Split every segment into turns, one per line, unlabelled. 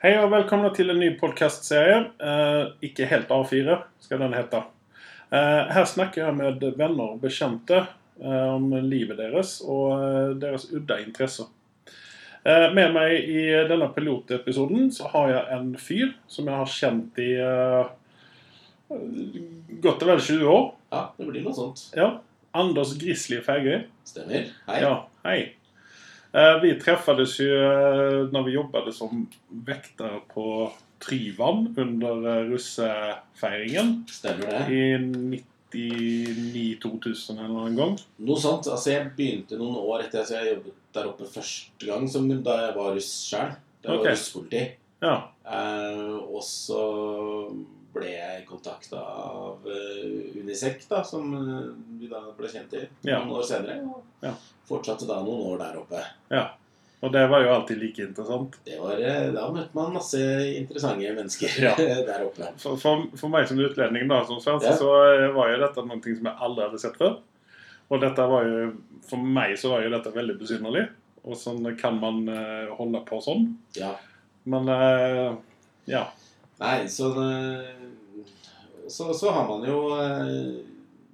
Hej och välkomna till en ny podcastserie. Eh, icke helt A4 ska den heta. Eh, här snackar jag med vänner och bekanta eh, om livet deras och eh, deras udda intressen. Eh, med mig i denna pilotepisoden så har jag en fyr som jeg har känt i eh, gott och väl 20 år.
Ja, det blir noe sånt.
Ja, Anders Grizzly Fägerö.
Stemmer. Hei.
Ja, hej. Eh, Vi träffades ju eh, när vi jobbade som väktare på Tryvann under eh, russefejringen
Stemmer det.
i 99-2000 eller någon gång.
Noe sånt. Altså, jeg begynte noen år etter at jeg jobbet der oppe første gang, som da jeg var russ sjøl. Da jeg
Ok.
var russpoliti.
Ja,
Eh, og så ble jeg kontakta av eh, Unisec, da, som eh, vi da ble kjent i
Ja.
noen år senere. og
Ja.
Fortsatte da noen år der oppe.
ja. Och det var ju alltid lika intressant.
Det var, eh, da møtte man masse interessante mennesker
Ja.
der oppe.
För, för, för mig som utlänning då, som svensk,
Ja.
så eh, var ju detta någonting som jag aldrig hade sett förr. Och detta var ju, för mig så var ju detta väldigt besynnerligt. Och sen sånn kan man eh, hålla på sån.
Ja.
Men, eh, ja.
Nei, så, det- så Så har man jo eh,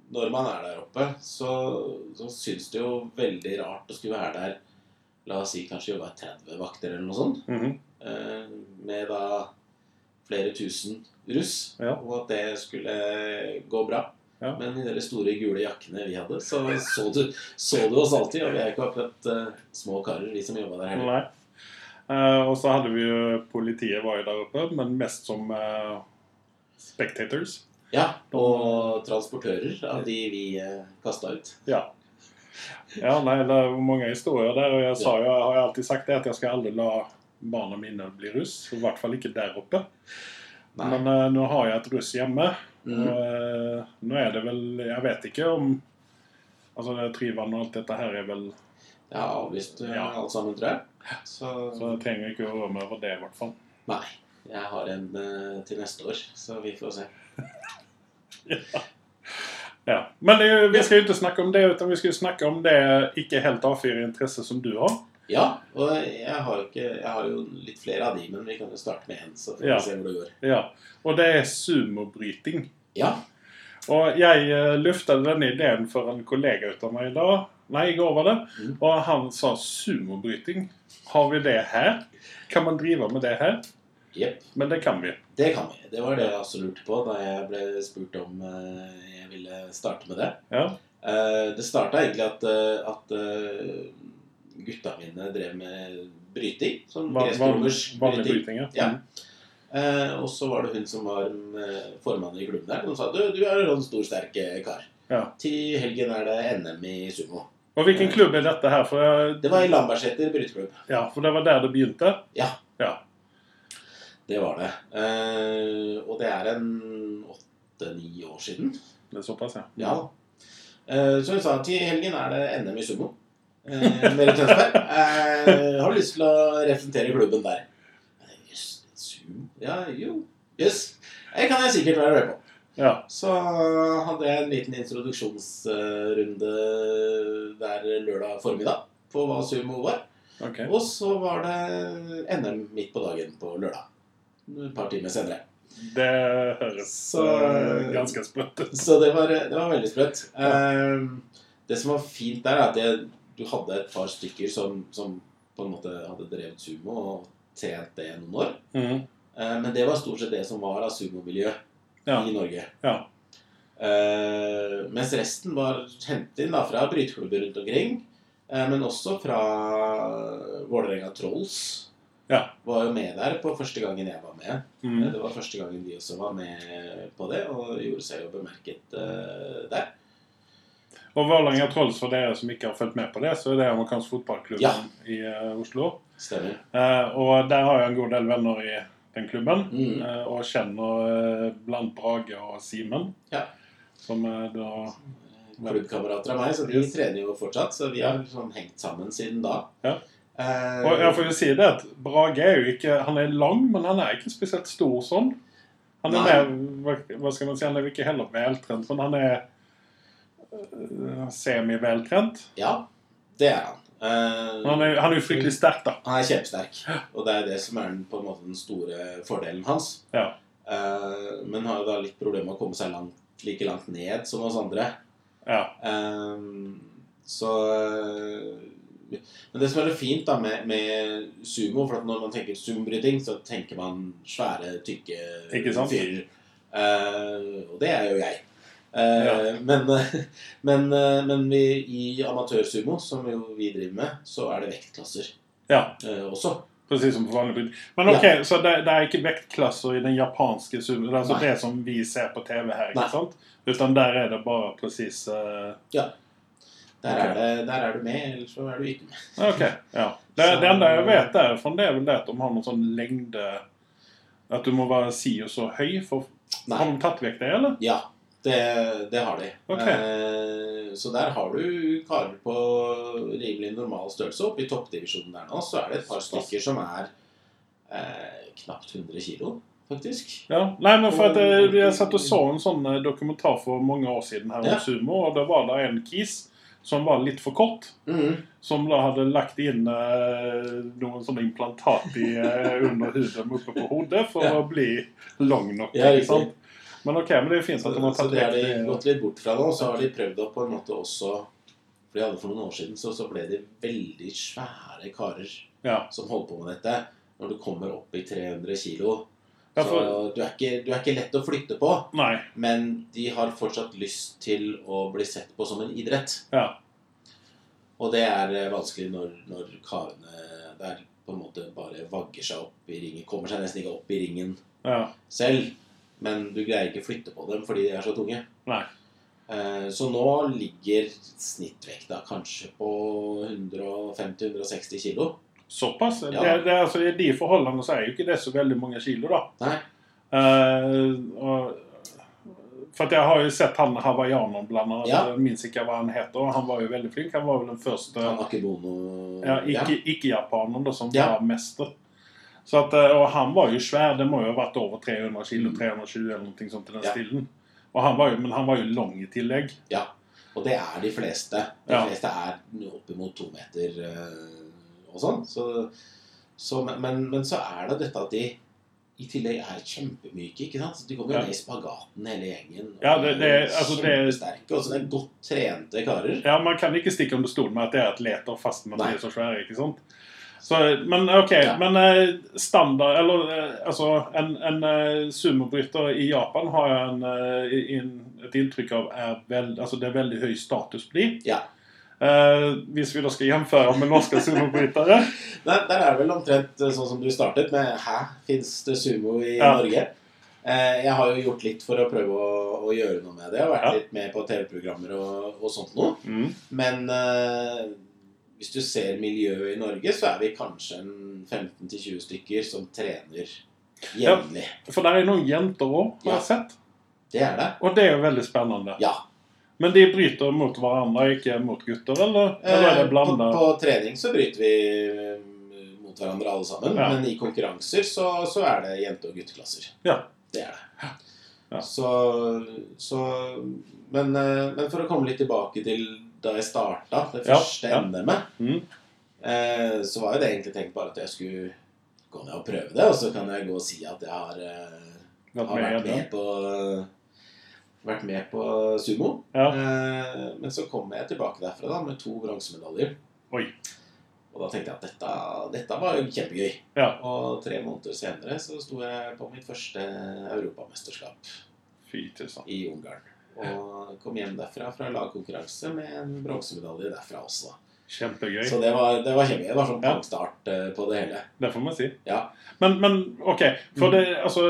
Når man er der oppe, så, så syns det jo veldig rart å skulle være der La oss si kanskje jobbe 30 vakter eller noe sånt.
Mhm.
eh, Med da flere tusen russ.
Ja.
Og at det skulle gå bra.
Ja.
Men i de store gule jakkene vi hadde, så så du, så du oss alltid. Og vi er ikke akkurat eh, små karer, vi som jobba der heller.
Nei. Eh, og så hadde vi jo Politiet var jo der oppe, men mest som eh, spectators.
Ja, Og transportører av de vi uh, kasta ut.
Ja. ja, nei, det er mange historier der. Og jeg sa jo, jeg har alltid sagt det, at jeg skal aldri la barna mine bli russ. I hvert fall ikke der oppe.
Nei.
Men eh, nå har jeg et russ hjemme.
Mhm.
Og eh, nå er det vel Jeg vet ikke om Altså, det Tryvann og alt dette her er vel
Jeg har avlyst eh,
Ja.
alt sammen, tror jeg. Så,
Så jeg trenger ikke å røre meg over det, i hvert fall.
Nei. Jeg har en eh, til neste år, så vi får se.
Ja. Men det, er jo- vi skal jo ikke snakke om det, utan vi skal jo snakke om det ikke helt A4-interesset som du har.
Ja, og jeg har, jo ikke, jeg har jo litt flere av de, men vi kan jo starte med én, så får vi
Ja.
se hvor det går.
Ja. Og det er sumobryting.
Ja.
Og jeg eh, luftet denne ideen for en kollega ut av meg i dag. Nei, i går var det.
Mm.
Og han sa sumobryting. Har vi det her? Kan man drive med det her?
Jepp.
Men det kan vi.
Det kan vi. Det var det jeg også lurte på da jeg ble spurt om eh, jeg ville starte med det.
Ja.
Eh, det starta egentlig at, eh, at eh, gutta mine drev med bryting. Sånn
Van, van,
gresk-romersk
vanlig
bryting.
bryting, ja. Mm.
Ja. Eh, og så var det hun som var eh, formann i klubben der. Hun sa du, du er en sånn stor, sterk eh, kar.
Ja.
Til helgen er det NM i sumo.
Og hvilken klubb er dette her? For, jeg-
Det var i Lambertseter bryteklubb.
ja, for det var der det begynte.
Det var det. Eh, og det er en åtte-ni år siden.
Det er såpass, ja.
Ja. Eh, så hun sa til helgen er det NM i sumo. Eh, Mere Tønsberg. Eh, har du lyst til å representere klubben der? Eh, Jøss, sumo? Ja, jo. Jøss. Det kan jeg sikkert være med på.
ja.
Så hadde jeg en liten introduksjonsrunde eh, der lørdag formiddag på hva sumo var.
Ok.
Og så var det NM midt på dagen på lørdag. Et par timer senere.
Det høres
Så-
eh, ganske sprøtt ut.
Så det var, det var veldig sprøtt. Ehm, Det som var fint der, er at jeg, du hadde et par stykker som, som på en måte hadde drevet sumo og trent det noen år.
Mm.
Eh, Men det var stort sett det som var av sumomiljøet
Ja.
i Norge.
Ja.
Eh, mens resten var hentet inn da, fra bryteklubber rundt omkring. eh, men også fra Vålerenga Trolls.
Ja.
Var jo med der på første gangen jeg var med.
Mm.
Det var første gangen de også var med på det, og gjorde seg jo bemerket eh, der.
Og Vålerenga Trolls, for dere som ikke har fulgt med på det, så er det amerikansk fotballklubb
Ja.
i eh, Oslo.
Stemmer.
Eh, og der har jeg en god del venner i den klubben.
Mm.
eh, og kjenner eh, blant Brage og Simen.
Ja. Mm.
Som er da
Klubbkamerater av meg, så
Mm.
de trener jo fortsatt. Så vi har sånn hengt sammen siden da.
Ja.
Eh,
Og jeg får jo si det at Brage er jo ikke Han er lang, men han er ikke spesielt stor sånn. Han er
Nei.
mer, hva- hva skal man si, han er jo ikke heller veltrent, men han er eh, semi-veltrent.
Ja, det er han. Eh,
Men Han er, jo- han er jo fryktelig sterk, da.
Han er kjempesterk, og det er det som er den, på en måte, den store fordelen hans.
Ja.
Eh, men har jo da litt problemer med å komme seg langt, like langt ned som oss andre.
Ja.
Eh, så eh, Men det som er så fint da med, med sumo, for at når man tenker sumobryting, så tenker man svære, tykke
Ikke sant?
fyrer. Eh, og det er jo jeg. Eh,
Ja.
Men, men, eh, men vi, i amatørsumo, som jo vi driver med, så er det vektklasser
ja.
eh, også.
Precis som på vanlig bud. Men ok, så det, det er ikke vektklasser i den japanske sumo? Det er altså
Nei.
det som vi ser på TV her, ikke
Nei.
sant? Utan der er det bare presis eh,
Der,
Ok.
er det, der er du med, eller så er du ikke med.
Ok, ja. Det,
Så-
det enda jeg vet derifrån, det er vel det at de har noen sånn lengde At du må være si og så høy for Har
Nei.
de tatt vekk det, eller?
Ja, det, det har de.
Ok.
Eh, så der har du karer på rimelig normal størrelse. Oppe i toppdivisjonen der nå så er det et par stykker som er eh, knapt 100 kilo, faktisk.
Ja. Nei, men for at jeg, jeg satt og så en sånn eh, dokumentar for mange år siden her om
Ja.
sumo, og da var det en kis som var litt for kort.
Mm.
Som da hadde lagt inn eh, noen sånne implantat i, eh, under huden oppe på hodet for
Ja.
å bli lang nok. ikke
Ja, riktig.
sant? Men ok, men det er fint
Så,
at de har
så
tatt
det har
vekk
de
det.
gått litt bort fra nå. Så har de prøvd å på en måte også For de hadde for noen år siden så, så ble de veldig svære karer
Ja.
som holdt på med dette. Når du kommer opp i 300 kilo,
Ja,
så
for,
du er, ikke, du er ikke lett å flytte på.
nei.
Men de har fortsatt lyst til å bli sett på som en idrett.
Ja.
Og det er eh, vanskelig når, når karene der på en måte bare vagger seg opp i ringen. Kommer seg nesten ikke opp i ringen
ja.
selv. Men du greier ikke flytte på dem fordi de er så tunge.
Nei.
Eh, Så nå ligger snittvekta kanskje på 150-160 kilo.
Såpass?
Ja.
Det, det, er altså, I de forholdene så er jo ikke det så veldig mange kilo, da.
Nei.
Eh, og, for at jeg har jo sett han hawaiianeren blant annet.
Ja.
Jeg minnes ikke hva han heter. og Han var jo veldig flink. Han var vel den første
Han har ikke bono
ja, ikke- ikke-japaneren da, som
Ja.
var mester. Så at, eh, og han var jo svær. Det må jo ha vært over 300 kilo,
Mm.
320 eller noe sånt i den
Ja.
stilen. Og han var jo, men han var jo lang i tillegg.
Og det er de fleste. De
Ja.
fleste er oppimot to meter eh, og sånn. Så, så, men, men så er det dette at de i tillegg er kjempemyke. ikke sant? Så De kommer jo
Ja.
ned i spagaten hele gjengen. og
Ja, det- det-
er
altså, det-
Kjempesterke. Og så det er godt trente karer.
Ja, Man kan ikke stikke under stolen med at det er atleter, fast man
Nei.
blir så svære. ikke sant? Så, men ok,
Ja.
men eh, standard Eller eh, altså En, en eh, sumobryter i Japan har jeg en, eh, i- in- et inntrykk av er veld, altså det er veldig høy status på de.
Ja.
Eh, hvis vi da skal gjenføre med norske sumobrytere.
Der, der er det vel omtrent eh, sånn som du startet med Hæ, fins det sumo i
Ja.
Norge? Eh, jeg har jo gjort litt for å prøve å, å gjøre noe med det. Og vært
Ja.
litt med på TV-programmer og, og sånt noe.
Mm.
Men eh, hvis du ser miljøet i Norge, så er vi kanskje en 15-20 stykker som trener jevnlig.
For der er noen jenter òg, har
Ja.
jeg sett.
Det er det.
Og det er jo veldig spennende.
Ja.
Men de bryter mot hverandre, ikke mot gutter, eller? Eller er
Eh,
det
på,
blanda?
på trening så bryter vi eh, mot hverandre alle sammen,
Ja.
men i konkurranser så, så er det jente- og gutteklasser.
Ja.
Det er det.
Ja.
Så, så men, eh, men for å komme litt tilbake til da jeg starta, det
Ja,
første
ja.
NM-et,
Mm.
eh, så var jo det egentlig tenkt bare at jeg skulle gå ned og prøve det, og så kan jeg gå og si at jeg har, eh,
Vært
har
med i
vært,
det?
med på, vært med på sumo.
Ja.
Eh, Men så kom jeg tilbake derfra da med to bronsemedaljer.
Oi.
Og da tenkte jeg at dette, dette var jo kjempegøy.
Ja.
Og tre måneder senere så sto jeg på mitt første europamesterskap
Fy til sann.
i Ungarn. Og kom hjem derfra fra lagkonkurranse med en bronsemedalje derfra også.
Kjempegøy.
Så det var, det var kjempegøy. Det var sånn
Ja.
pangstart eh, på det hele.
Det får man si.
Ja. Mm.
Men, men OK. For det, altså,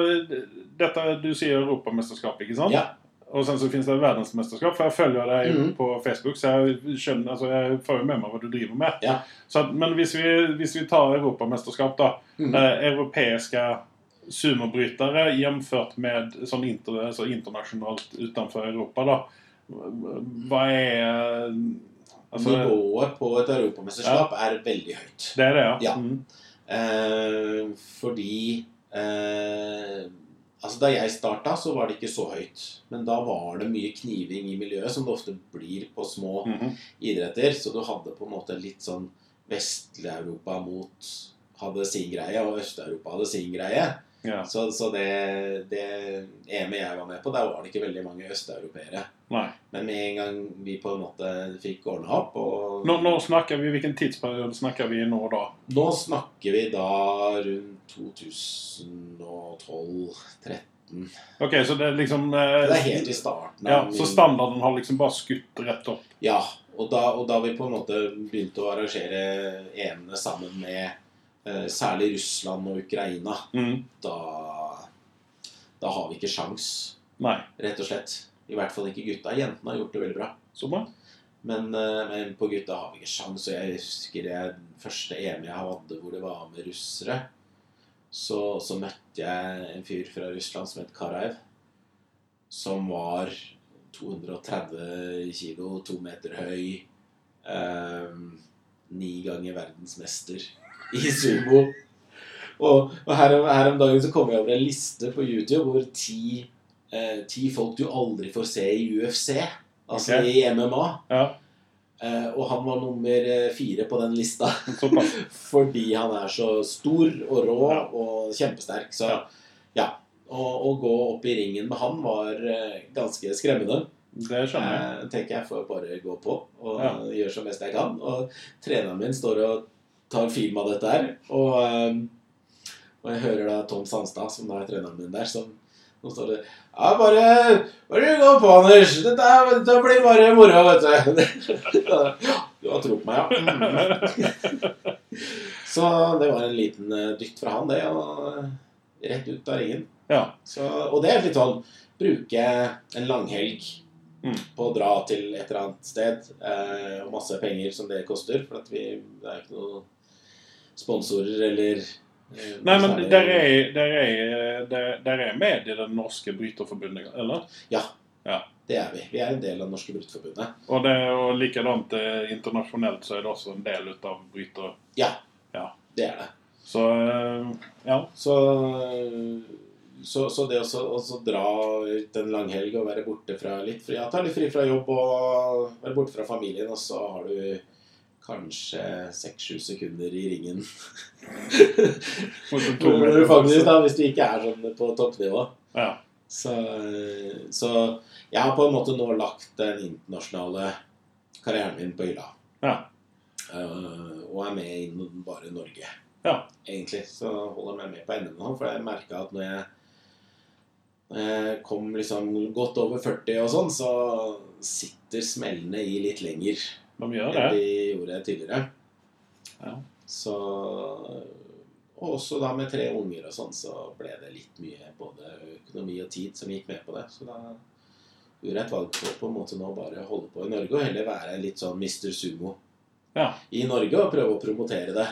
dette, du sier europamesterskap, ikke sant?
Ja.
Og sen så finnes det verdensmesterskap. For jeg følger deg
Mhm.
på Facebook, så jeg, skjønner, altså, jeg får jo med meg hva du driver med.
Ja.
Så, at- men hvis vi, hvis vi tar europamesterskap, da. Eh, europeiske sumobrytere jevnført med sånn inter, altså internasjonalt utenfor Europa, da. Hva er altså,
Nivået på et europamesterskap er veldig høyt.
Det er det, ja.
Ja.
Mhm.
Eh, fordi eh, Altså, da jeg starta, så var det ikke så høyt. Men da var det mye kniving i miljøet, som det ofte blir på små
Mhm.
idretter. Så du hadde på en måte litt sånn Vest-Europa mot hadde sin greie, og Øst-Europa hadde sin greie.
Ja.
Så, så det, det EM-et jeg var med på, der var det ikke veldig mange østeuropeere.
Nei.
Men med en gang vi på en måte fikk ordna opp og
Nå, nå snakker vi, Hvilken tidsperiode snakker vi i nå, da?
Nå snakker vi da rundt 2012-13.
Ok, så det er liksom
Det
eh,
er helt i starten.
ja,
av
Så
min-
standarden har liksom bare skutt rett opp?
Ja, og da, og da vi på en måte begynte å arrangere EM-ene sammen med eh, særlig Russland og Ukraina,
Mm.
da, da har vi ikke sjans,
Nei.
rett og slett. I hvert fall ikke gutta. Jentene har gjort det veldig bra.
Så bra.
Men, eh, men på gutta har vi ikke sjans. Og jeg husker det første EM jeg hadde hvor det var med russere. Så, så møtte jeg en fyr fra Russland som het Karaev. Som var 230 kilo, to meter høy. Eh, ni ganger verdensmester i sumo. Og, og her, om, her om dagen så kom jeg over en liste på YouTube hvor ti, eh, ti folk du aldri får se i UFC. Altså
Ok.
i MMA.
Ja,
Eh, og han var nummer eh, fire på den lista
såpass.
fordi han er så stor og rå
Ja.
og kjempesterk. Så ja.
Ja.
Å, å gå opp i ringen med han var eh, ganske skremmende.
Det skjønner jeg.
Eh, tenker jeg får bare gå på og
Ja.
gjøre så best jeg kan. Og treneren min står og tar film av dette her. Og, eh, og jeg hører da Tom Sandstad, som da er treneren min der, som som står det Ja, bare Hva er det du går på, Anders? Dette, er- dette blir bare moro, vet du. Ja, du har tro på meg, ja. Mm. Så det var en liten eh, dytt fra han, det. Og eh, rett ut av ringen.
Ja.
Så, og det er litt sånn Bruke en langhelg
Mm.
på å dra til et eller annet sted. eh, Og masse penger som det koster. For at vi, det er ikke noen sponsorer eller eh,
Nei, men
særlig-
der er, der, er, der, der er med i det norske bryterforbundet, eller?
Ja.
Ja.
Det er vi. Vi er en del av Norske Bruktforbundet.
Og, det, og likedant eh, internasjonelt så er det også en del av bryter.
Det er det.
Så eh, ja.
Så, så, så det å så- å så dra ut en langhelg og være borte fra litt fri ja, Ta litt fri fra jobb og være borte fra familien, og så har du kanskje seks-sju sekunder i ringen.
Mot en to
Når du
meter.
faktisk, da, hvis du ikke er sånn på toppnivå.
Ja.
Så, eh, så jeg har på en måte nå lagt den internasjonale karrieren min på hylla.
Ja.
Eh, og er med innen bare Norge.
Ja.
Egentlig så holder jeg meg med på NM nå, for jeg merka at når jeg, når jeg kom liksom godt over 40 og sånn, så sitter smellene i litt lenger
De gjør det.
enn de gjorde tidligere.
Ja.
Så Og også da med tre unger og sånn, så ble det litt mye både økonomi og tid som gikk med på det. Så da gjorde jeg et valg på på en måte nå bare å holde på i Norge og heller være litt sånn Mr. Sumo
Ja.
i Norge og prøve å promotere det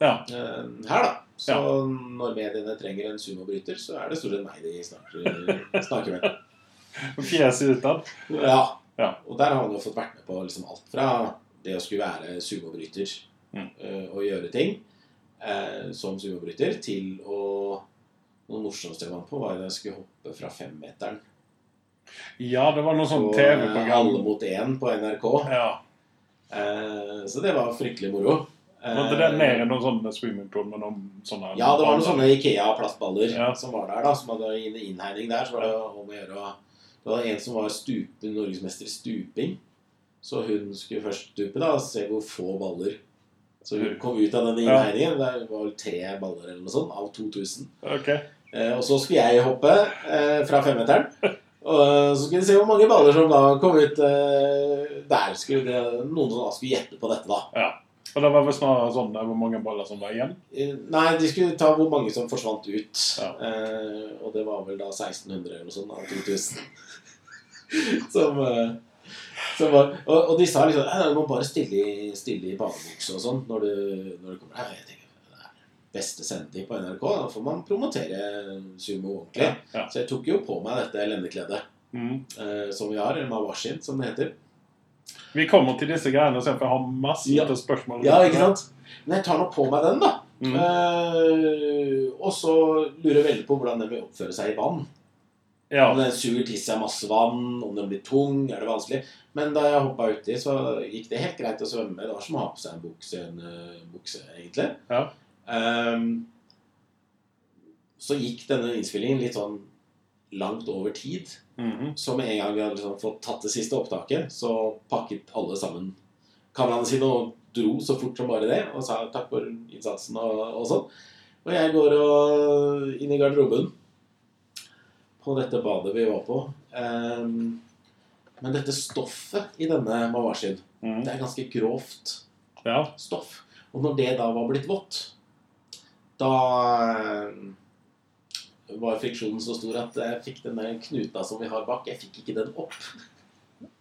Ja.
eh, her, da. Så når mediene trenger en sumobryter, så er det stort sett meg de snakker, snakker med.
Fjeset utad.
Ja.
Ja.
Og der har han jo fått vært med på liksom alt fra det å skulle være sumobryter
Mm.
eh, og gjøre ting eh, som sumobryter, til å Noe morsomst jeg vant på, var jo da jeg skulle hoppe fra femmeteren.
Ja, det var noe sånn
på, eh,
TV-program.
Alle mot én på NRK.
Ja.
Eh, så det var fryktelig moro.
Var ikke det mer enn noen sånne swimmingpool med noen sånne
Eh, Ja, det var noen sånne Ikea-plastballer
Ja.
som var der, da. Som hadde inn- innhegning der. Så var det om å gjøre å Det var en som var stup, norgesmester i stuping. Så hun skulle først stupe, da, og se hvor få baller. Så hun kom ut av den
Ja.
innhegningen. Det var vel tre baller eller noe sånt av 2000.
Ok.
Eh, og så skulle jeg hoppe eh, fra femmeteren. Og eh, så skulle vi se hvor mange baller som da kom ut eh, der. Skulle det, noen som da skulle gjette på dette, da.
Og det var vel snarere sånn eh, hvor mange baller som var igjen.
Eh, Nei, de skulle ta hvor mange som forsvant ut.
Ja.
Eh, og det var vel da 1600 eller noe sånt av 2000. som, eh, som var, og, og de sa liksom «Nei, Du må bare stille, i- stille i badebukse og sånn når, du- når du kommer Nei, Jeg tenker, det er beste sendetid på NRK. Da får man promotere sumo ordentlig.
Ja.
Så jeg tok jo på meg dette lendekledet
Mm.
eh, som vi har. eller Mawashin, som det heter.
Vi kommer til disse greiene senere, for jeg har masse
Ja.
spørsmål.
Ja, ikke sant? Men jeg tar nå på meg den, da.
Mm.
Eh, og så lurer jeg veldig på hvordan den vil oppføre seg i vann. Om
Ja.
den suger til seg masse vann, om den blir tung, er det vanskelig. Men da jeg hoppa uti, så gikk det helt greit å svømme. Det var som å ha på seg en bukse, en eh, bukse egentlig.
Ja.
Ehm, så gikk denne innspillingen litt sånn langt over tid.
Mhm.
Så med en gang vi hadde liksom fått tatt det siste opptaket, så pakket alle sammen kameraene sine og dro så fort som bare det, og sa takk for innsatsen og, og sånn. Og jeg går og inn i garderoben på dette badet vi var på. Ehm, men dette stoffet i denne mawashin,
Mhm.
det er ganske grovt
Ja.
stoff. Og når det da var blitt vått, da eh, var friksjonen så stor at jeg fikk den der knuta som vi har bak, jeg fikk ikke den opp.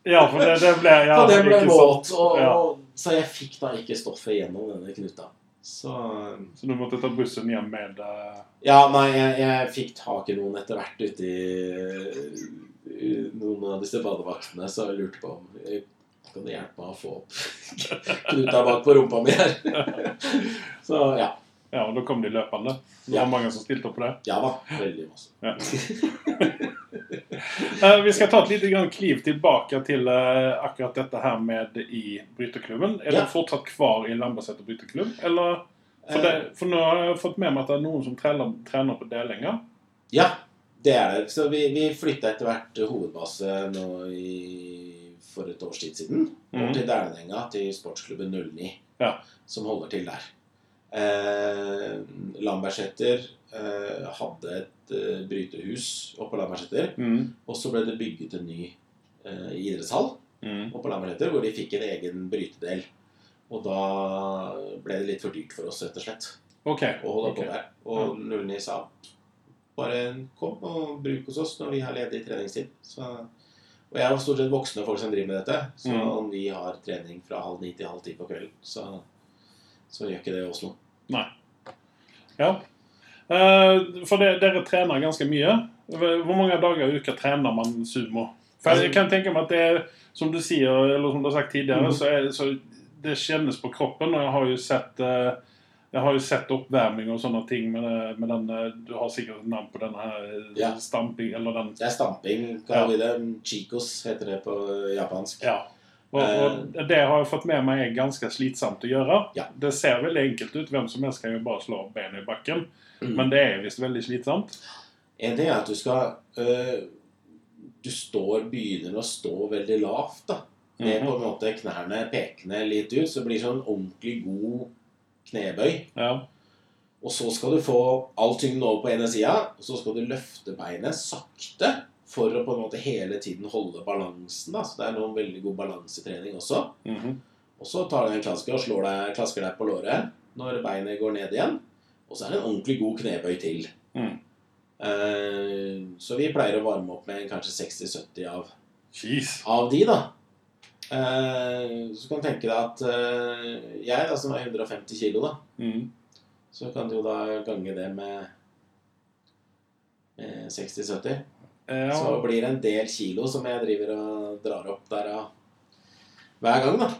ja, for det, det ble ja,
og den ble
ikke sant.
våt, og,
Ja.
og, så jeg fikk da ikke stoffet gjennom denne knuta. Så eh,
Så du måtte ta bussen hjem med eh,
Ja, nei, jeg, jeg fikk tak i noen etter hvert ute i i noen av disse badevaktene, så jeg lurte på om eh, kan du hjelpe meg å få opp knuta bak på rumpa mi her. Så ja.
Ja, og da kom de løpende. Det
Ja.
var mange som stilte opp på det.
Ja da. Veldig masse.
Eh, Vi skal ta et lite grann kliv tilbake til eh, akkurat dette her med i bryteklubben. Er
Ja.
det fortsatt kvar i Lambertseter bryteklubb? Eller, for, det,
Eh.
for nå har jeg fått med meg at det er noen som trener, trener på delinger.
Ja, det er det. Så vi, vi flytta etter hvert hovedbase nå i, for et års tid siden.
Mhm.
Over til Dælenenga, til sportsklubben 09,
Ja.
som holder til der. Eh, Lambertseter eh, hadde et eh, brytehus oppe på Lambertseter. Og så ble det bygget en ny eh, idrettshall
Mm.
oppe på Lambertseter, hvor de fikk en egen brytedel. Og da ble det litt for dyrt for oss, rett og slett
Ok.
og holder
ok.
på der. Og Lulni sa bare kom og bruk hos oss når vi har ledig treningstid. Så, og jeg er jo stort sett voksne folk som driver med dette. Så
Mm.
om vi har trening fra halv ni til halv ti på kvelden, så, så gjør ikke det oss noe.
Ja. Eh, For det, dere trener ganske mye. Hvor mange dager i uka trener man sumo? For jeg kan tenke meg at det er, som du sier, eller som du har sagt tidligere,
Mhm.
så, er, så det kjennes på kroppen. Og jeg har jo sett, eh, jeg har jo sett oppvarming og sånne ting med, det- med den eh, Du har sikkert et navn på den her eh,
Ja.
stamping, eller den
Det er stamping,
Ja.
kaller vi det. Chicos heter det på japansk.
Ja. Og,
Eh.
og det har jeg fått med meg er ganske slitsomt å gjøre.
Ja.
Det ser veldig enkelt ut. Hvem som helst kan jo bare slå opp benet i bakken.
Mm.
Men det er visst veldig slitsomt.
En ting er at du skal øh, Du står, begynner å stå veldig lavt, da. Med
Mhm.
på en måte knærne pekende litt ut. Så det blir sånn ordentlig god knebøy.
Ja.
Og så skal du få all tyngden over på ene sida, og så skal du løfte beinet sakte for å på en måte hele tiden holde balansen. da. Så det er noen veldig god balansetrening også.
Mhm.
Og så tar du en klasker og slår deg, klasker deg på låret når beinet går ned igjen. Og så er det en ordentlig god knebøy til.
Mm.
Eh, så vi pleier å varme opp med kanskje 60-70 av
Jeez.
av de, da. Eh, så kan du tenke deg at eh, jeg, da, som er 150 kilo, da,
Mm.
så kan du jo da gange det med, med 60-70. Så
Ja.
blir det en del kilo som jeg driver og drar opp der ja. hver gang, da.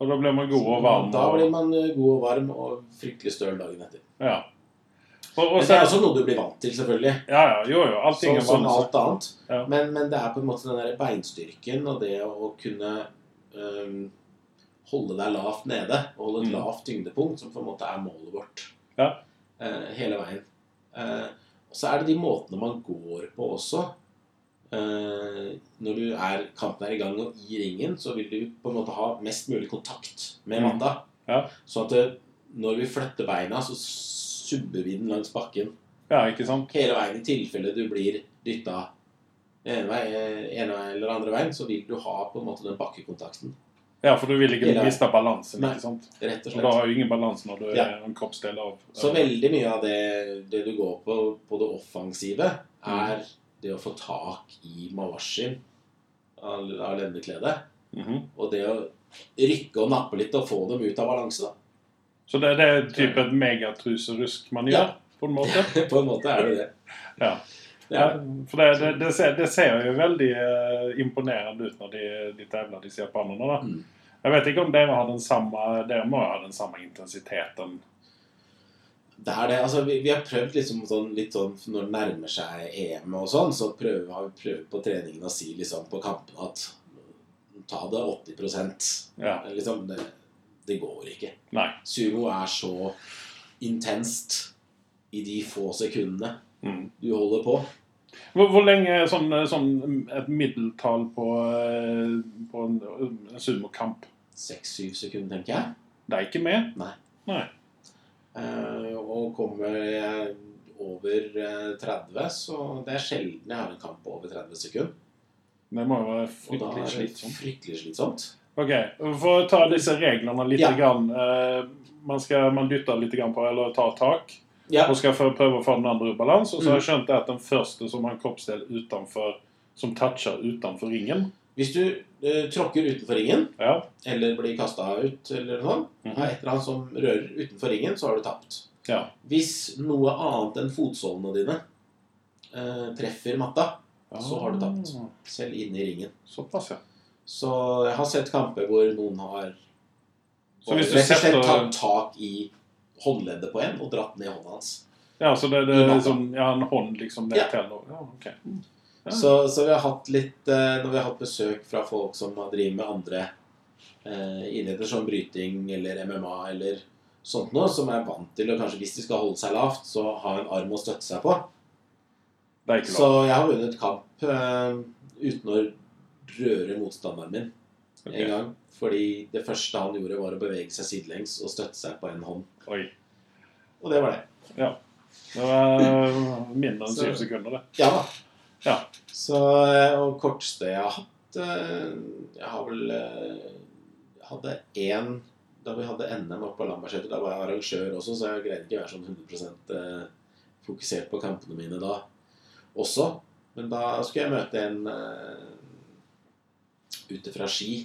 Og da blir man god og varm.
Da
Og,
blir man eh, god og varm og fryktelig støl dagen etter.
ja. og, og
Men
så,
det er også noe du blir vant til, selvfølgelig.
ja, ja, jo, jo. Allting
Som,
er
som
vanlig.
alt annet.
Ja.
Men, men det er på en måte den der beinstyrken og det å kunne øhm, holde deg lavt nede og holde et
Mm.
lavt tyngdepunkt som på en måte er målet vårt
Ja.
Eh, hele veien. Eh, og så er det de måtene man går på også. Eh, når du er, kampen er i gang og i ringen, så vil du på en måte ha mest mulig kontakt med
Mm.
matta.
Ja.
Sånn at det, når vi flytter beina, så subber vi den langs bakken
Ja, ikke sant?
hele veien i tilfelle du blir dytta ene vei, ene vei eller andre veien, så vil du ha på en måte den bakkekontakten.
Ja, for du vil ikke
Hele-
miste balansen.
Nei.
ikke sant?
Rett og
Og da
slett.
har du ingen balanse når du
Ja.
er en kroppsdel av
Så veldig mye av det, det du går på på det offensive, er det å få tak i mawashin av av lendekledet.
Mhm.
Og det å rykke og nappe litt og få dem ut av balanse. da.
Så det, det er type et megatruserusk man gjør,
Ja.
på en måte.
På en måte er det det.
Ja.
Det
Ja,
er det.
for det, det, det, ser, det ser jo veldig eh, imponerende ut når de, de tävlar, disse japanerne. da.
Mm.
Jeg vet ikke om dere har den samme, dere må ha den samme intensiteten.
Det er det. Altså, vi, vi har prøvd liksom sånn, litt sånn når det nærmer seg EM og sånn, så prøver, har vi prøvd på treningen å si liksom på kampene at ta det 80
Ja.
liksom, det, det går ikke.
Nei.
Sumo er så intenst i de få sekundene
Mm.
du holder på.
Hvor, hvor lenge er sånn, sånn et middeltall på, eh, på en, en sumokamp?
Seks-syv sekunder, tenker jeg.
Det er ikke med?
Eh, og kommer jeg over eh, 30, så det er sjelden jeg har en kamp på over 30 sekunder.
Det må jo være
Og
fryktelig
da er det sånn.
slitsomt.
fryktelig slitsomt.
Ok, For å ta disse reglene litt
Ja.
grann, eh, man, skal, man dytter litt grann på eller tar tak
Ja.
og skal få- prøve å få den andre i balanse. Og så
Mm.
har jeg skjønt det at den første som har en kroppsdel utenfor, som toucher utenfor ringen
Hvis du eh, tråkker utenfor ringen,
ja.
eller blir kasta ut, eller noe sånt,
Mhm.
av et eller annet som rører utenfor ringen, så har du tapt.
Ja.
Hvis noe annet enn fotsålene dine eh, treffer matta, Så har du tapt.
Ah,
selv inne i ringen
Såpass, ja.
Så jeg har sett kamper hvor noen har
Så hvis du
rett og slett
setter-
tatt tak i håndleddet på en og dratt ned hånda hans.
ja så det, det
I
er
natta.
liksom, ja, en hånd liksom ned
Ja.
til og- ja, ok. Ja.
Så, så vi har hatt litt eh, Når vi har hatt besøk fra folk som har driver med andre eh, idretter, som bryting eller MMA eller sånt noe, som er vant til å kanskje hvis de skal holde seg lavt, så ha en arm å støtte seg på.
Det er ikke
Så
lov.
jeg har vunnet kamp eh, uten å røre motstanderen min
Ok.
en gang. Fordi det første han gjorde, var å bevege seg sidelengs og støtte seg på en hånd.
Oi.
Og det var det.
Det var eh, mindre enn
Så-
syv sekunder, det.
Ja da.
Ja.
Så, eh, og korteste jeg har hatt eh, Jeg har vel eh, Jeg hadde én da vi hadde NM oppe på Lambertseter. Da var jeg arrangør også, så jeg greide ikke å være sånn 100 eh, fokusert på kampene mine da også. Men da skulle jeg møte en eh, ute fra Ski.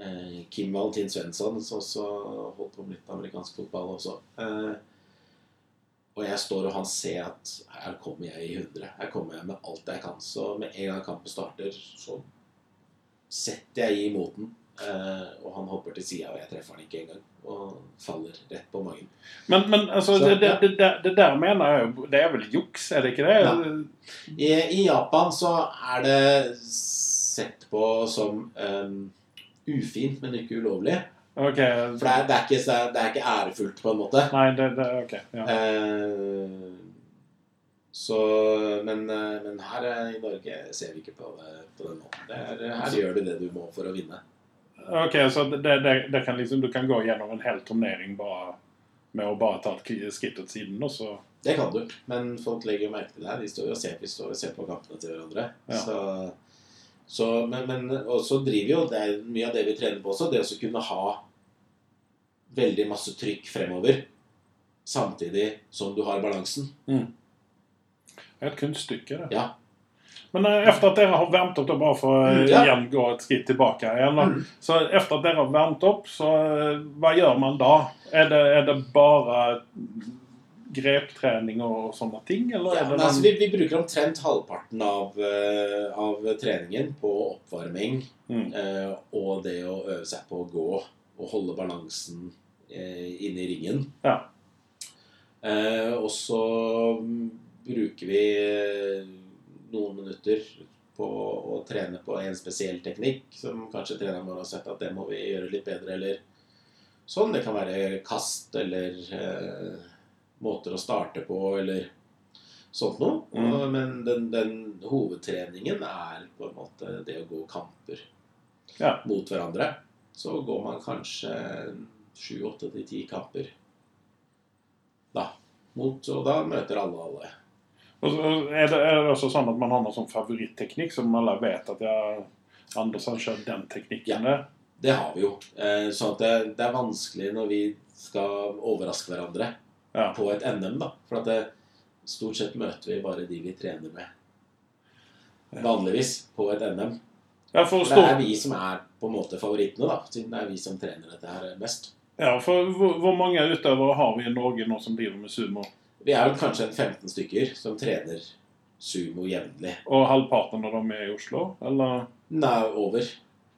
eh, Kim Valentin Svensson, som også holdt på med litt amerikansk fotball også. Eh, og jeg står og han ser at her kommer jeg i 100. Her kommer jeg med alt jeg kan. Så med en gang kampen starter, så setter jeg i mot den. Eh, og han hopper til sida, og jeg treffer han ikke engang. Og faller rett på magen.
Men, men altså,
Så-
det, det, det, det- det der mener jeg jo Det er vel juks, er det ikke det?
I, i Japan så er det sett på som eh, ufint, men ikke ulovlig.
Ok.
For det er, det, er ikke, så- det er ikke ærefullt, på en måte.
Nei, det, det ok. Ja.
Eh, så, men, eh, men her eh, i Norge ser vi ikke på det på den måten. Det er, eh, her gjør du det du må for å vinne.
Ok, så det, det, det kan liksom, du kan gå gjennom en hel turnering bare med å bare ta et k- skritt til siden, og så
Det kan du, men folk legger jo merke til det. her. De står jo og ser, vi står og ser på kampene til hverandre.
Ja.
Så, så, men, men og så driver jo det er mye av det vi trener på også, det å så kunne ha veldig masse trykk fremover samtidig som du har balansen.
Det er et kunststykke, det.
Ja.
Men eh, efter at dere har varmt opp, da bare for å
Mm, ja.
igjen gå et skritt tilbake igjen da.
Mm.
Så efter at dere har varmt opp, så eh, hva gjør man da? Er det, er det bare greptrening og sånne ting, eller
Ja,
er
men
det
altså,
noen
vi, vi bruker omtrent halvparten av, eh, av treningen på oppvarming
Mm.
eh, og det å øve seg på å gå og holde balansen eh, inne i ringen.
Ja.
Eh, og så mm, bruker vi eh, noen minutter på å trene på en spesiell teknikk som kanskje treneren vår har sett at det må vi gjøre litt bedre, eller sånn. Det kan være kast eller eh, måter å starte på, eller sånt noe.
Mm.
Og- Men den, den hovedtreningen er på en måte det å gå kamper
Ja.
mot hverandre. Så går man kanskje sju, åtte til ti kamper da. Mot, og da møter alle alle.
Og så er, det, er det også sånn at man har noen sånn favorittteknikk som alle vet at jeg, Anders har kjørt den teknikken der?
Det har vi jo. Eh, Sånn at det, det er vanskelig når vi skal overraske hverandre
Ja.
på et NM, da. For at det, stort sett møter vi bare de vi trener med.
Ja.
Vanligvis på et NM.
Ja, for,
Det er
stor,
vi som er på en måte favorittene, da. Siden det er vi som trener dette her mest.
ja, for hvor, hvor mange utøvere har vi i Norge nå som driver med sumo?
Vi er vel kanskje en 15 stykker som trener sumo jevnlig.
Og halvparten av dem er i Oslo? Eller?
Nei, over.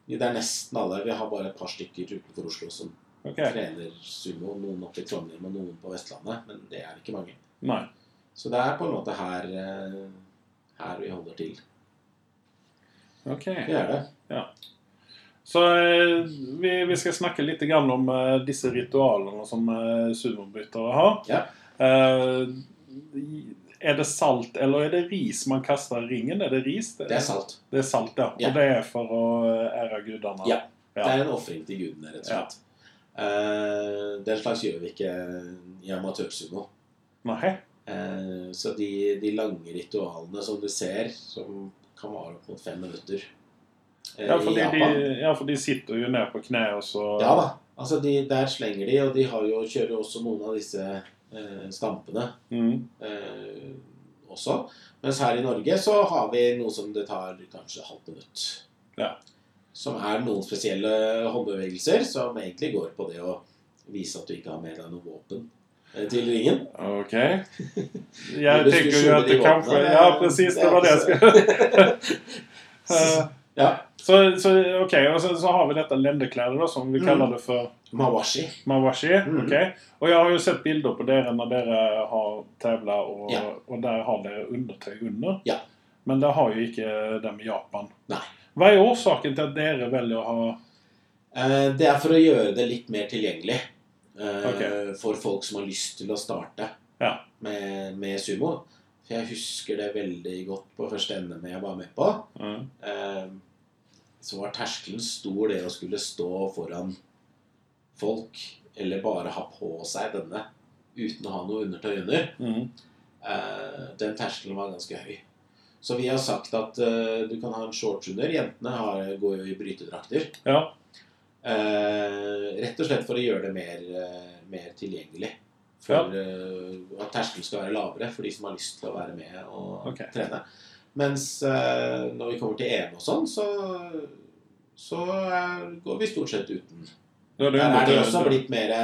Det er nesten alle. Vi har bare et par stykker utenfor Oslo som
Ok.
trener sumo, noen oppe i Trondheim og noen på Vestlandet. Men det er ikke mange.
Nei.
Så det er på en måte her, eh, her vi holder til.
Ok.
Det er det.
Så eh, vi, vi skal snakke litt grann om eh, disse ritualene som eh, sumobrytere har.
Ja.
Eh, er det salt eller er det ris man kaster i ringen? Er det ris?
Det er salt.
Det er salt, ja.
Ja.
Og det er for å eh, ære gudene?
Ja.
Ja.
Det er en ofring til gudene, rett og slett. Eh, den slags gjør vi ikke i amatørsumo.
Nei?
Eh, så de, de lange ritualene som du ser, som kan vare opp mot fem minutter eh,
Ja, fordi
i
de,
Japan
ja, for de sitter jo ned på kne, og så
Ja da. Altså, de, der slenger de, og de har jo, kjører jo også noen av disse eh, stampene
Mm.
eh, også. Mens her i Norge så har vi noe som det tar kanskje halvt minutt.
Ja.
Som er noen spesielle håndbevegelser som egentlig går på det å vise at du ikke har med deg noe våpen eh, til ringen.
Ok.
Men
Jeg
du
tenker
skulle
jo
skjule
at
de
det kanskje
våpnene,
Ja, presis. Det var det jeg skulle Eh,
Ja.
Så, så ok, og så, så har vi dette lendeklær, da, som vi
Mm.
kaller det for
Mawashi.
Mawashi.
Mm.
ok? Og jeg har jo sett bilder på dere når dere har tevla, og,
Ja.
og der har dere undertøy under.
Ja.
Men det har jo ikke dem i Japan.
Nei.
Hva er årsaken til at dere velger å ha
Eh, Det er for å gjøre det litt mer tilgjengelig eh,
Ok.
for folk som har lyst til å starte
Ja.
med, med sumo. For jeg husker det veldig godt på første NM jeg var med på.
mm,
Eh, Så var terskelen stor det å skulle stå foran folk, eller bare ha på seg denne uten å ha noe undertøy under.
Mm.
Eh, den terskelen var ganske høy. Så vi har sagt at eh, du kan ha en shorts under. Jentene har, går jo i brytedrakter.
Ja.
Eh, rett og slett for å gjøre det mer, eh, mer tilgjengelig. For eh, at terskelen skal være lavere for de som har lyst til å være med og
Ok.
trene. Mens eh, når vi kommer til EM og sånn, så, så eh, går vi stort sett uten.
Da er
Der er de
undertøy-
også blitt mer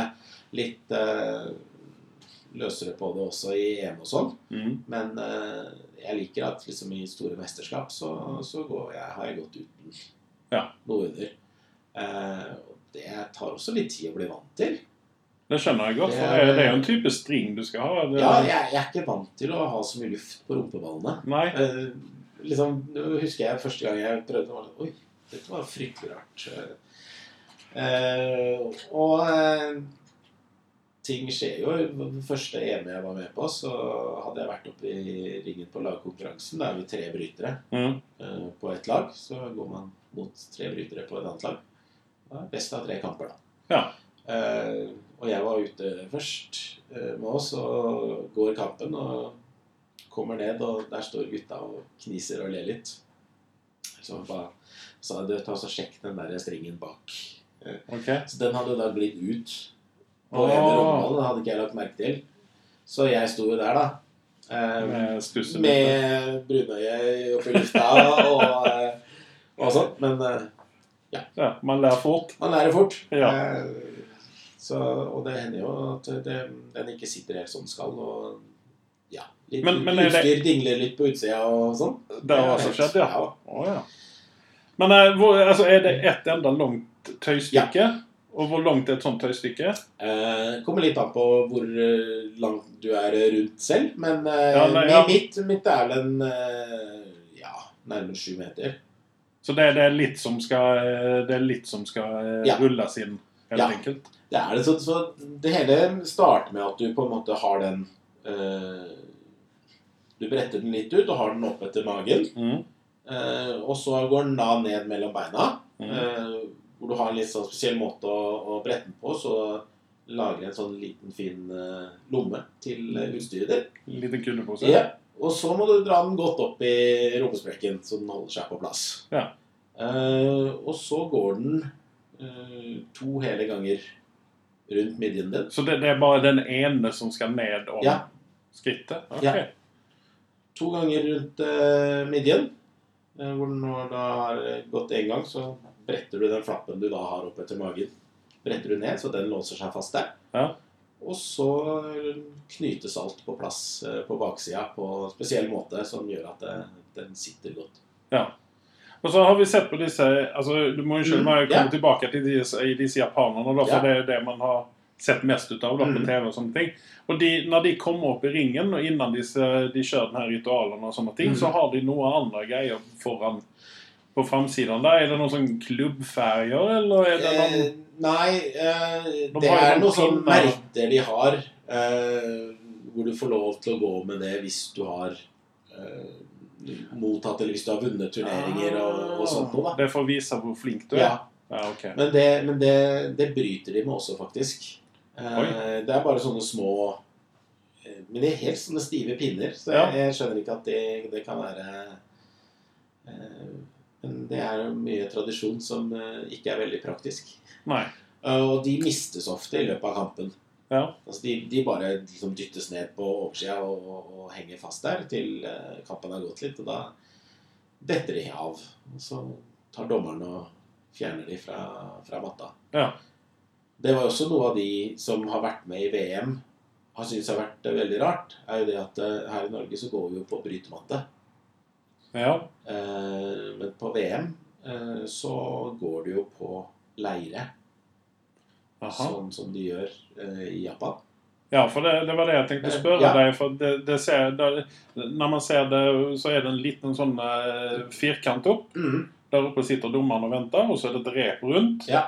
litt eh, løsere på det også i EM og sånn.
Mm.
Men eh, jeg liker at liksom, i store mesterskap så, så går jeg, har jeg gått uten
Ja.
noe under. Eh, og det tar også litt tid å bli vant til.
Det skjønner jeg godt,
Det
for
er-
det er, det er jo en type string du skal ha. Det,
Ja, jeg, jeg er ikke vant til å ha så mye luft på rumpeballene.
Nei?
Eh, liksom, nå husker jeg første gang jeg prøvde var det, Oi, dette var fryktelig rart. Eh, og eh, ting skjer jo. Den første EM jeg var med på, så hadde jeg vært oppe i ringen på lagkonkurransen. Da er vi tre brytere.
Mm.
eh, på ett lag, så går man mot tre brytere på et annet lag. Da er det best av tre kamper, da.
Ja.
Eh, og jeg var ute først eh, med oss, og går kampen og kommer ned, og der står gutta og kniser og ler litt. Så han bare sa du, ta og sjekk den der stringen bak.
Ok.
Så den hadde da glidd ut. Og
Åh.
en rommel hadde ikke jeg lagt merke til. Så jeg sto jo der, da. Eh,
Med stusser litt.
med brunøye oppe i lufta og, eh, og sånn. Men eh,
Ja, man lærer fort.
man lærer fort.
Ja.
Eh, Så, og det hender jo at det, den ikke sitter helt som den skal. Og ja, litt
Men- men er det-
utstyr dingler litt på utsida og sånn.
Det har også
helt-
skjedd, ja.
ja.
Å, ja. Men eh, hvor, altså, er det ett enda langt tøystykke? Og hvor langt er et sånt tøystykke?
Eh, kommer litt an på hvor eh, langt du er rundt selv, men eh,
Ja, nei,
mi-
ja.
Mitt, mitt er vel en eh, ja, nærmere sju meter.
Så det, det, er litt som skal, eh, det er litt som skal eh,
Ja.
rulles inn, helt
Ja.
enkelt?
Det er det, så, så det hele starter med at du på en måte har den eh, Du bretter den litt ut og har den opp etter magen.
Mm.
eh, og så går den da ned mellom beina.
Mm.
eh, hvor du har en litt sånn spesiell måte å, å brette den på. Så lager en sånn liten, fin eh, lomme til eh, utstyret ditt.
Liten kuldepose?
Ja. Og så må du dra den godt opp i rumpesprekken, så den holder seg på plass.
Ja.
Eh, og så går den eh, to hele ganger rundt midjen din.
Så det, det er bare den ene som skal ned om
Ja.
skrittet? Ok.
Ja. to ganger rundt eh, midjen. Eh, hvor den nå da har gått én gang, så bretter du den flappen du da har opp etter magen. Bretter du ned, så den låser seg fast der.
Ja.
Og så eh, knytes alt på plass eh, på baksida på en spesiell måte som gjør at det, den sitter godt.
Og så har vi sett på disse altså, Du må jo skjønne
Mm,
meg, jeg kommer
ja.
tilbake til disse, i disse japanerne, da, for
Ja.
det er det man har sett mest ut av da, på
Mm.
TV. Og sånne ting. Og de, når de kommer opp i ringen, og innan disse, de kjører denne ritualen, og sånne ting,
Mm.
så har de noe andre greier foran på framsiden der. Er det noen sånn klubbferger, eller er det noen
Eh, nei, eh,
De
det
har jo
er
noen
noen sånne
pinner.
merker de har, eh, hvor du får lov til å gå med det hvis du har eh, mottatt, eller hvis du har vunnet Eh, turneringer og, og sånt noe, da.
Ah, Det er for å vise hvor flink du er?
Ja,
Ja, ok.
men det, men det, det bryter de med også, faktisk. Eh,
Oi.
det er bare sånne små eh, Men det er helt sånne stive pinner, så jeg,
Ja.
jeg skjønner ikke at det, det kan være eh, Men det er jo mye tradisjon som eh, ikke er veldig praktisk.
Nei.
Eh, Og de mistes ofte i løpet av kampen.
Ja.
Altså de, de bare liksom dyttes ned på oversida og, og, og henger fast der til eh, kampen har gått litt. Og da detter de av. Og så tar dommeren og fjerner de fra, fra matta.
Ja.
Det var også noe av de som har vært med i VM, har syntes har vært eh, veldig rart. er jo det at eh, her i Norge så går vi jo på brytematte.
ja.
Eh, men på VM eh, så går du jo på leire.
Aha.
sånn som de gjør eh, i Japan.
Ja, for det, det var det jeg tenkte å spørre
Eh, Ja.
deg. For det, det ser, det, når man ser det, så er det en liten sånn eh, firkant opp. Der oppe sitter dommeren og venter, og så er det et rep rundt.
Ja.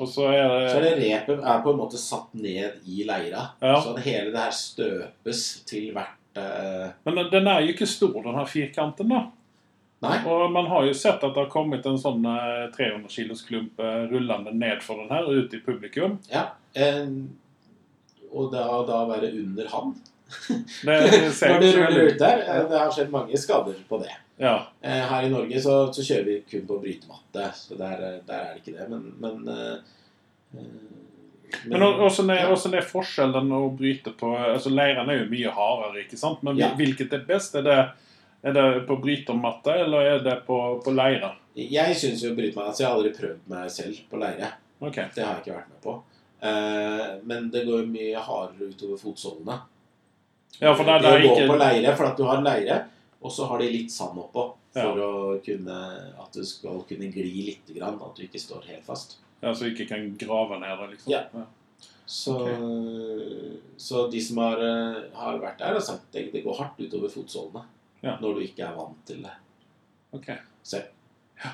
Og så er det,
Så er det repet er på en måte satt ned i leira,
Ja.
så at hele det her støpes til hvert eh,
Men den er jo ikke stor, den her firkanten, da.
Nei.
Og man har jo sett at det har kommet en sånn eh, 300 kilos klump eh, rullende ned for den her, ut i publikum.
Eh, og da, da være under han
Det, det ser
når du
ikke så
ruller
veldig
ut der. Eh, det har skjedd mange skader på det.
Ja.
Eh, her i Norge så, så kjører vi kun på brytematte, så der, eh, der er det ikke det. Men, men eh, eh,
Men å- åssen er,
ja.
åssen er forskjellen å bryte på altså Leirene er jo mye hardere, ikke sant? Men
Ja.
hvilket er best? Er det, er det på brytermatte, eller er det på, på leire?
Jeg syns jo brytematte altså Jeg har aldri prøvd meg selv på leire.
Ok.
Det har jeg ikke vært med på. Eh, men det går mye hardere utover fotsålene.
Ja, for der,
det
der er
å gå på
ikke
leire, for at du har leire, og så har de litt sand oppå. For
Ja.
å kunne, at du skal kunne gli litt, grann, at du ikke står helt fast.
Ja, så du ikke kan grave ned det, liksom.
Ja. Så, så de som har, eh, har vært der, har sagt at det går hardt utover fotsålene
Ja.
når du ikke er vant til det.
Ok.
Så-
Ja.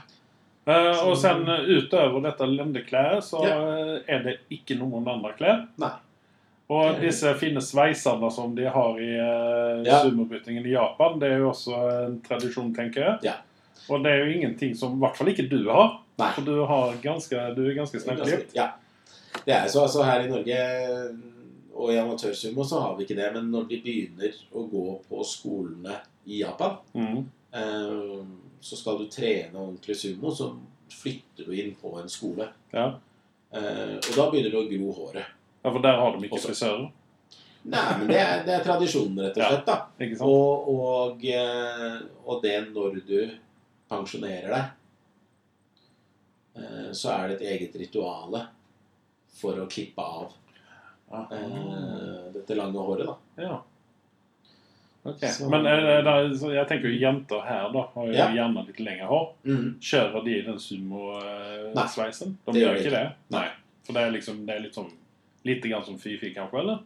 Eh, og
Så-
sen eh, utover dette lendeklær, så
Ja.
eh, er det ikke noen andre klær.
Nei.
Og disse fine sveiserne som de har i uh,
Ja.
sumobrytingen i Japan, det er jo også en tradisjon, tenker jeg.
Ja.
Og det er jo ingenting som i hvert fall ikke du har.
Nei.
For du, har ganske, du er ganske snakkelig.
Ja. Det er så altså her i Norge og i amatørsumo så har vi ikke det, men når de begynner å gå på skolene i Japan,
Mm.
eh, så skal du trene ordentlig sumo, så flytter du inn på en skole.
Ja.
Eh, og da begynner det å gro håret.
ja, for der har de ikke
Også.
frisører.
Nei, men det er, det er tradisjonen, rett og
Ja.
slett. da.
Ikke sant?
Og, og, eh, og det når du pensjonerer deg, eh, så er det et eget rituale for å klippe av
Ah.
eh, dette lange håret, da.
Ja. Ok.
Så-
Men er det, der, så jeg tenker jo jenter her da har jo
Ja.
gjerne litt lengre hår. Kjører de den
Nei.
sumo-sveisen? De
Det gjør
gjør
de
ikke det?
Nei.
For det er liksom det er litt sånn Lite grann som Fifi, kanskje? eller?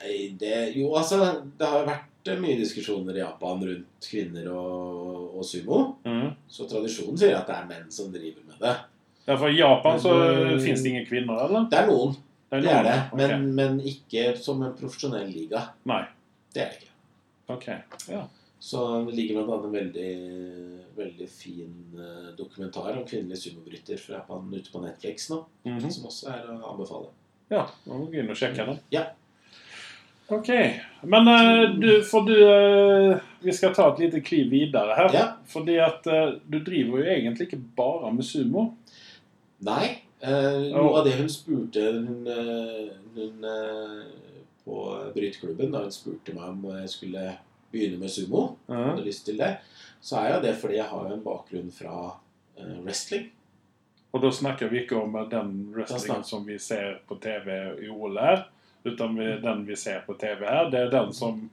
Nei, det Jo, altså, det har jo vært eh, mye diskusjoner i Japan rundt kvinner og, og sumo.
Mhm.
Så tradisjonen sier at det er menn som driver med det.
Ja, for I Japan så
Men, eh,
fins det ingen kvinner, eller?
Det er noen,
Det
det er det.
noen,
Men, men ikke som en profesjonell liga.
ok. Nei.
Det er det ikke.
Ok.
Så det ligger blant annet en veldig, veldig fin eh, dokumentar om kvinnelig sumobryter fra Japan ute på Netflix nå,
Mhm.
som også er å anbefale.
Ja, da må vi gå inn og sjekke den.
Ja.
Ok. Men eh, du, for du eh, Vi skal ta et lite kliv videre her.
Ja.
Fordi at eh, du driver jo egentlig ikke bare med sumo.
Nei. Eh, noe av det hun spurte hun, eh, hun eh, på bryteklubben da hun spurte meg om jeg skulle begynne med sumo, om jeg
Mhm.
hadde lyst til det, så er jo det fordi jeg har jo en bakgrunn fra eh, wrestling.
Og da snakker vi ikke om eh, den
Da snakker-
wrestlingen som vi ser på TV i OL her, utan vi, den vi ser på TV her, det er den som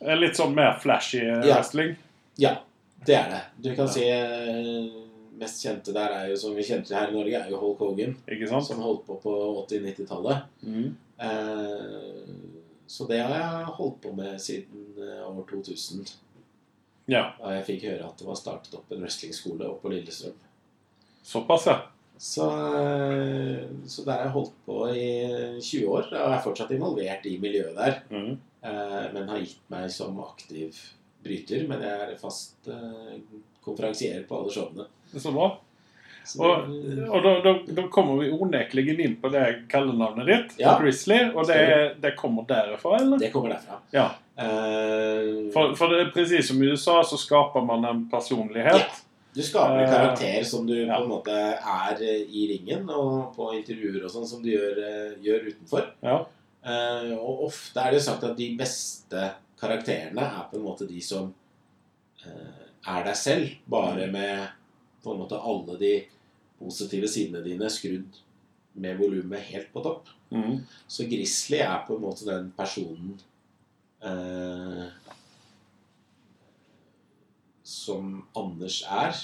er litt sånn mer flashy eh,
Ja.
wrestling.
Ja, det er det. Du kan
Ja.
si eh, mest kjente der er jo, som vi kjente her i Norge, er jo Hulk Hogan.
Ikke sant?
Som holdt på på 80-90-tallet.
Mm.
Eh, så det har jeg holdt på med siden eh, år 2000.
Ja.
Da jeg fikk høre at det var startet opp en wrestlingskole oppe på Lillestrøm.
Såpass, ja.
Så, eh, så der har jeg holdt på i 20 år. Og jeg er fortsatt involvert i miljøet der.
Mm.
Eh, men har gitt meg som aktiv bryter. Men jeg er fast eh, konferansier på alle showene.
Det er så bra.
Så
Og,
det-
og da, da, da kommer vi onekligen inn på det kallenavnet ditt,
Ja.
Grizzly. Og det, det kommer derifra, eller?
det kommer derfra.
Ja.
Eh,
For, for det er presis som i USA, så skaper man en personlighet.
du skaper en
Eh,
karakter som du
ja.
på en måte er eh, i ringen og på intervjuer og sånn, som du gjør, eh, gjør utenfor.
Ja.
Eh, og ofte er det jo sagt at de beste karakterene er på en måte de som eh, er deg selv, bare
Mm.
med på en måte alle de positive sidene dine skrudd med volumet helt på topp.
Mm.
Så Grizzly er på en måte den personen eh, som Anders er,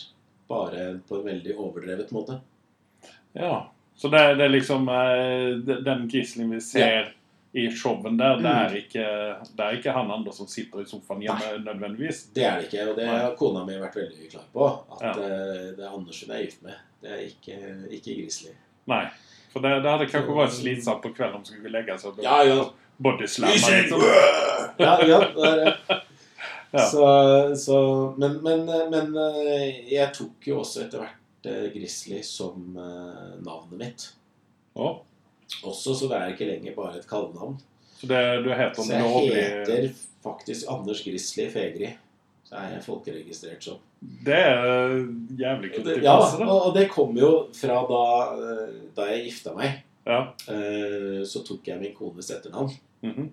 bare på en veldig overdrevet måte.
ja. Så det, det er liksom eh, de- den Grizzlyen vi ser i showen der, det
Mm.
er, ikke, det er ikke han andre som sitter i sofaen hjemme nødvendigvis.
Det er det ikke, og det har kona mi vært veldig klar på. At
Ja.
eh, det er Anders hun er gift med. Det er ikke, ikke Grizzly.
Nei. For det, det hadde kanskje vært slitsomt på kvelden om man skulle legge seg og
Ja, ja.
bodyslamma. Liksom.
ja, ja, det er det.
Ja.
Så, så, men, men, men eh, jeg tok jo også etter hvert eh, Grizzly som eh, navnet mitt.
Å,
Også, så det er ikke lenger bare et kallenavn.
Så det, du heter
Så jeg
lovlig
heter faktisk Anders Grizzly Fegri. Så er jeg folkeregistrert som.
Det er jævlig
Og
kult.
det,
i
ja,
passet,
og
da.
og det kom jo fra da, eh, da jeg gifta meg.
Ja.
eh, Så tok jeg min kones etternavn.
Mhm.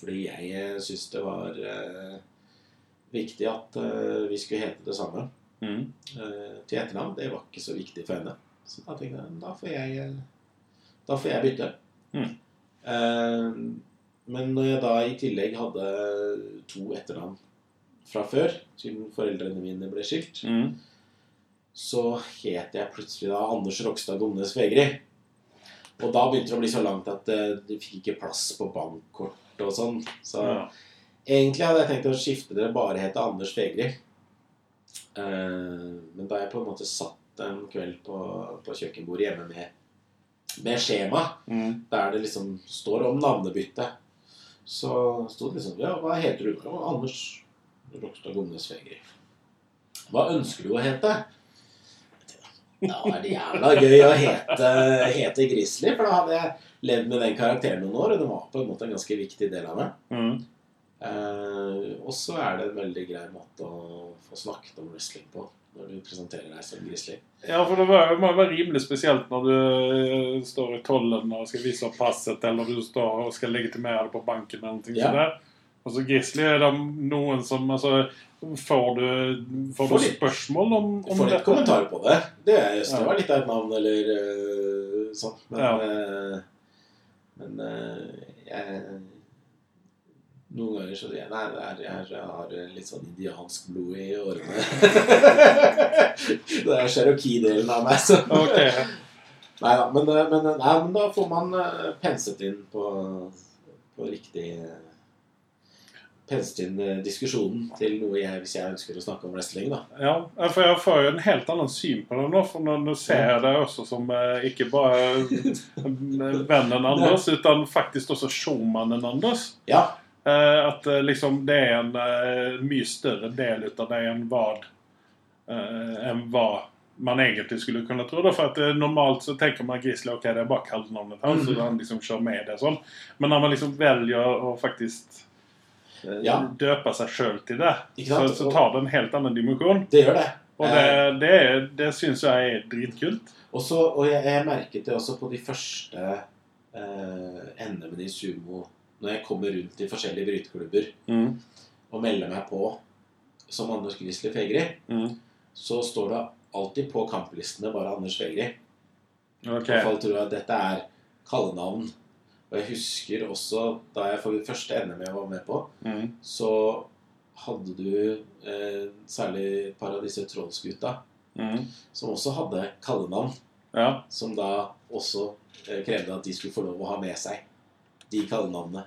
Fordi jeg syntes det var eh, viktig at eh, vi skulle hete det samme
Mhm.
eh, til etternavn. Det var ikke så viktig for henne. Så da tenkte jeg da får jeg, eh, da får jeg bytte.
Mm.
Eh, men når jeg da i tillegg hadde to etternavn fra før, siden foreldrene mine ble skilt,
Mhm.
så het jeg plutselig da Anders Rokstad Gomnes Vegri. Og da begynte det å bli så langt at eh, det fikk ikke plass på bankkort og sånn. Så
Ja.
Egentlig hadde jeg tenkt å skifte det bare hete Anders Fegri. Eh, men da jeg på en måte satt en kveld på, på kjøkkenbordet hjemme med, med skjema,
Mhm.
der det liksom står om navnebytte, så sto det liksom Ja, hva heter du? «Ja, Anders Rokstad Gomnes Fegri. Hva ønsker du å hete? Da er det jævla gøy å hete, hete Grizzly, for da hadde jeg levd med den karakteren noen år, og det var på en måte en ganske viktig del av meg.
Mhm.
Eh, og så er det en veldig grei måte å få snakket om wrestling på når du presenterer deg som grizzly.
Ja, for det var, det må være rimelig spesielt når du eh, står i tollen og skal vise opp passet, eller du står og skal legitimere det på banken eller noe
Ja.
sånt. der. Og så Grizzly er det noen som altså, Får du, får
Får
du
litt-
spørsmål om,
Du
om
får litt kommentarer på det. Det er just, det
Ja.
var litt av et navn eller eh, sånn. Men,
Ja.
eh, men eh, jeg Noen ganger så sier jeg nei, det er, jeg, jeg har litt sånn indiansk blod i årene. det er cherokee-delen av meg som
Ok.
Nei da, men, eh, men, nei, men da får man eh, penset inn på, på riktig eh, Penset inn eh, diskusjonen til noe jeg, hvis jeg ønsker å snakke om wrestling, da.
Ja, for jeg får jo en helt annen syn på det nå. For nå, nå ser jeg deg også som eh, ikke bare eh, vennen Anders, men faktisk også showmannen Anders.
Ja.
Eh, at eh, liksom det är en eh, mye større del utav det enn vad, eh, enn vad man egentlig skulle kunna tro. Då, för att eh, normalt så tänker man Grizzly, okej det är bara kallnamnet hans,
Mhm.
så han liksom kör med det. och Sånt. Men när man liksom väljer att faktiskt eh,
Ja.
döpa sig själv till det,
Ikke
så,
sant?
så tar det en helt annan dimension.
Det gjør det. Eh,
Och det, det, är- det syns jag är dritkult.
Og, så, og jeg, jeg merket det også på de første eh, NM-ene i sumo Når jeg kommer rundt i forskjellige bryteklubber
Mm.
og melder meg på som Anders Grizzly Fegri,
Mm.
så står det alltid på kamplistene bare Anders Fegri.
Okej.
Og folk tror at dette er kallenavn. Og jeg husker også da jeg for det første NM jeg var med på,
Mm.
så hadde du eh, særlig et par av disse trollsgutta
Mm.
som også hadde kallenavn,
Ja.
som da også eh, krevde at de skulle få lov å ha med seg de kallenavnene.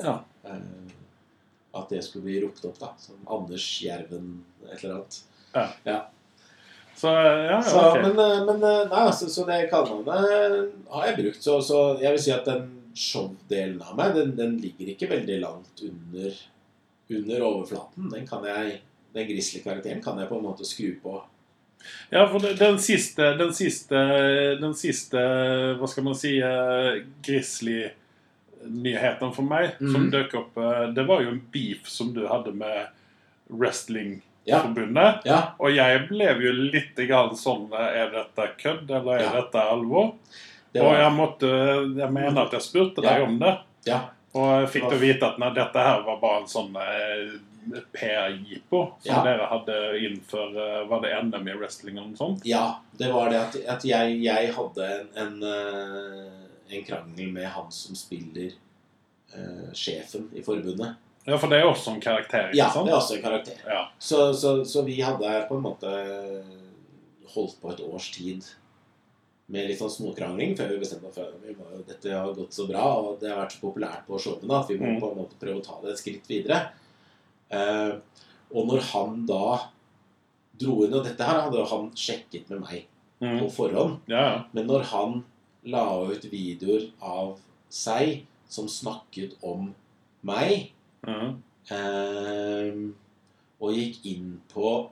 Ja.
Eh, At det skulle bli ropt opp, da. Som Anders Jerven et eller annet.
Så eh, ja,
Så,
ja, ok.
men, eh, men eh, nei, altså, så det kallenavnet eh, har jeg brukt. Så, så jeg vil si at den show-delen av meg, den, den ligger ikke veldig langt under, under overflaten. Den kan jeg den grizzly-karakteren kan jeg på en måte skru på.
Ja, for det- den siste, den siste, den siste Hva skal man si eh, Grizzly-nyheten for meg som
Mhm.
dukket opp, eh, det var jo en beef som du hadde med
Ja.
Wrestlingforbundet.
ja.
Og jeg ble jo litt grann sånn eh, Er dette kødd, eller er
Ja.
dette alvor?
Det
Og
var,
jeg måtte Jeg mener at jeg spurte
Ja.
deg om det.
ja.
Og jeg fikk da vite at nei, dette her var bare en sånn eh, PR-jippo som
Ja.
dere hadde innenfor eh, Var det NM i wrestling eller noe sånt?
Ja, det var det at, at jeg, jeg hadde en, en, eh, en krangel med han som spiller eh, sjefen i forbundet.
Ja, for det er også en karakter, ikke
Ja, det
sant?
er også en karakter.
Ja.
Så, så, så vi hadde på en måte holdt på et års tid med litt sånn småkrangling før vi bestemte oss for vi var jo- dette har gått så bra, og det har vært så populært på showene at vi må
Mm.
på en måte prøve å ta det et skritt videre. Eh, og når han da dro inn Og dette her hadde jo han sjekket med meg
Mm.
på forhånd.
Ja, ja.
Men når han la ut videoer av seg som snakket om meg,
Mm.
ehm, og gikk inn på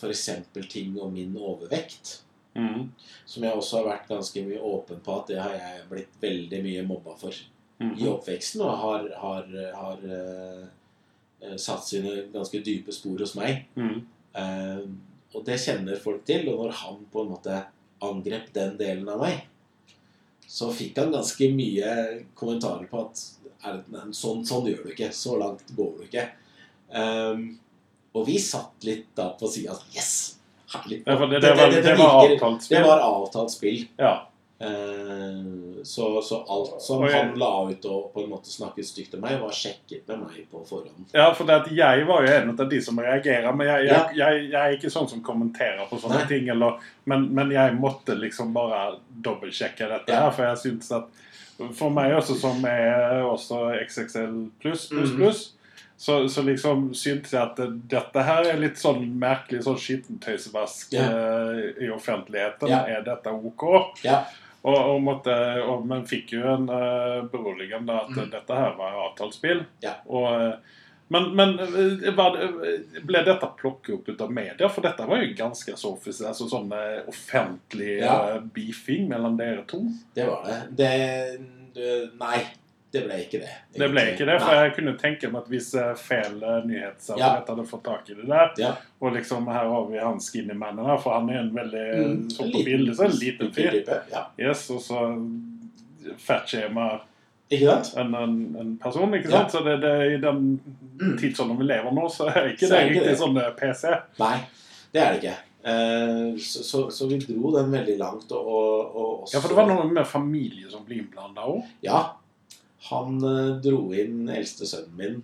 f.eks. ting om min overvekt,
Mm.
som jeg også har vært ganske mye åpen på at det har jeg blitt veldig mye mobba for
Mm.
i oppveksten, og har, har, har eh, satt sine ganske dype spor hos meg.
Mm.
Eh, og det kjenner folk til. Og når han på en måte angrep den delen av meg, så fikk han ganske mye kommentarer på at er, det- nei, sånn, sånn gjør du ikke. Så langt går du ikke. Eh, og vi satt litt da på sida sånn Yes! Herlig.
Ja, for det, det,
Dette-
var,
dette
det var
virker-
avtalt
Det
spill.
var avtalt spill.
Ja.
Eh, så, så alt som
Og jeg-
han la ut og på en måte snakket stygt om meg, var sjekket med meg på forhånd.
ja, for det at jeg var jo en av de som reagerer, men jeg, jeg, jeg, jeg er ikke sånn som kommenterer på sånne
Nei.
ting. Eller, men, men jeg måtte liksom bare dobbeltsjekke dette
Ja.
her, for jeg syns at For meg også, som er også XXL pluss, pluss,
Mhm.
pluss, så, så liksom syntes jeg at det- dette her er litt sånn merkelig sånn skittentøysvask
Ja.
eh, i offentligheten.
Ja.
Er dette OK?
Ja.
Og, og måtte, og, men fikk jo en eh, beroligende at
Mm.
dette her var avtalt spill.
Ja.
Og, eh, men men eh, var det, ble dette plukket opp ut av media? For dette var jo ganske så offis- altså sånn eh, offentlig
Ja.
eh, beefing mellom dere to.
Det var det. det, det nei, det ble ikke det.
Det ble ikke det, for
Nei.
jeg kunne tenke meg at hvis eh, feil eh, nyhetsarbeidet
Ja.
hadde fått tak i det der
Ja.
Og liksom her har vi han skinnymannen her, for han er en veldig
Mm,
sånn på
liten-
bildet, så en liten fyr.
type, Ja.
Yes, og så fatshama
Ikke sant?
en, en, en person, ikke
Ja.
sant? Så det, det, er i den tidsånden vi lever nå, Mm. så er ikke
Så
det
er ikke
riktig
det.
sånn eh, PC.
Nei, det er det ikke. Eh, så, så, så vi dro den veldig langt, og, og, og også
Ja, for det var noe med familie som ble innblanda òg.
Ja. Han eh, dro inn den eldste sønnen min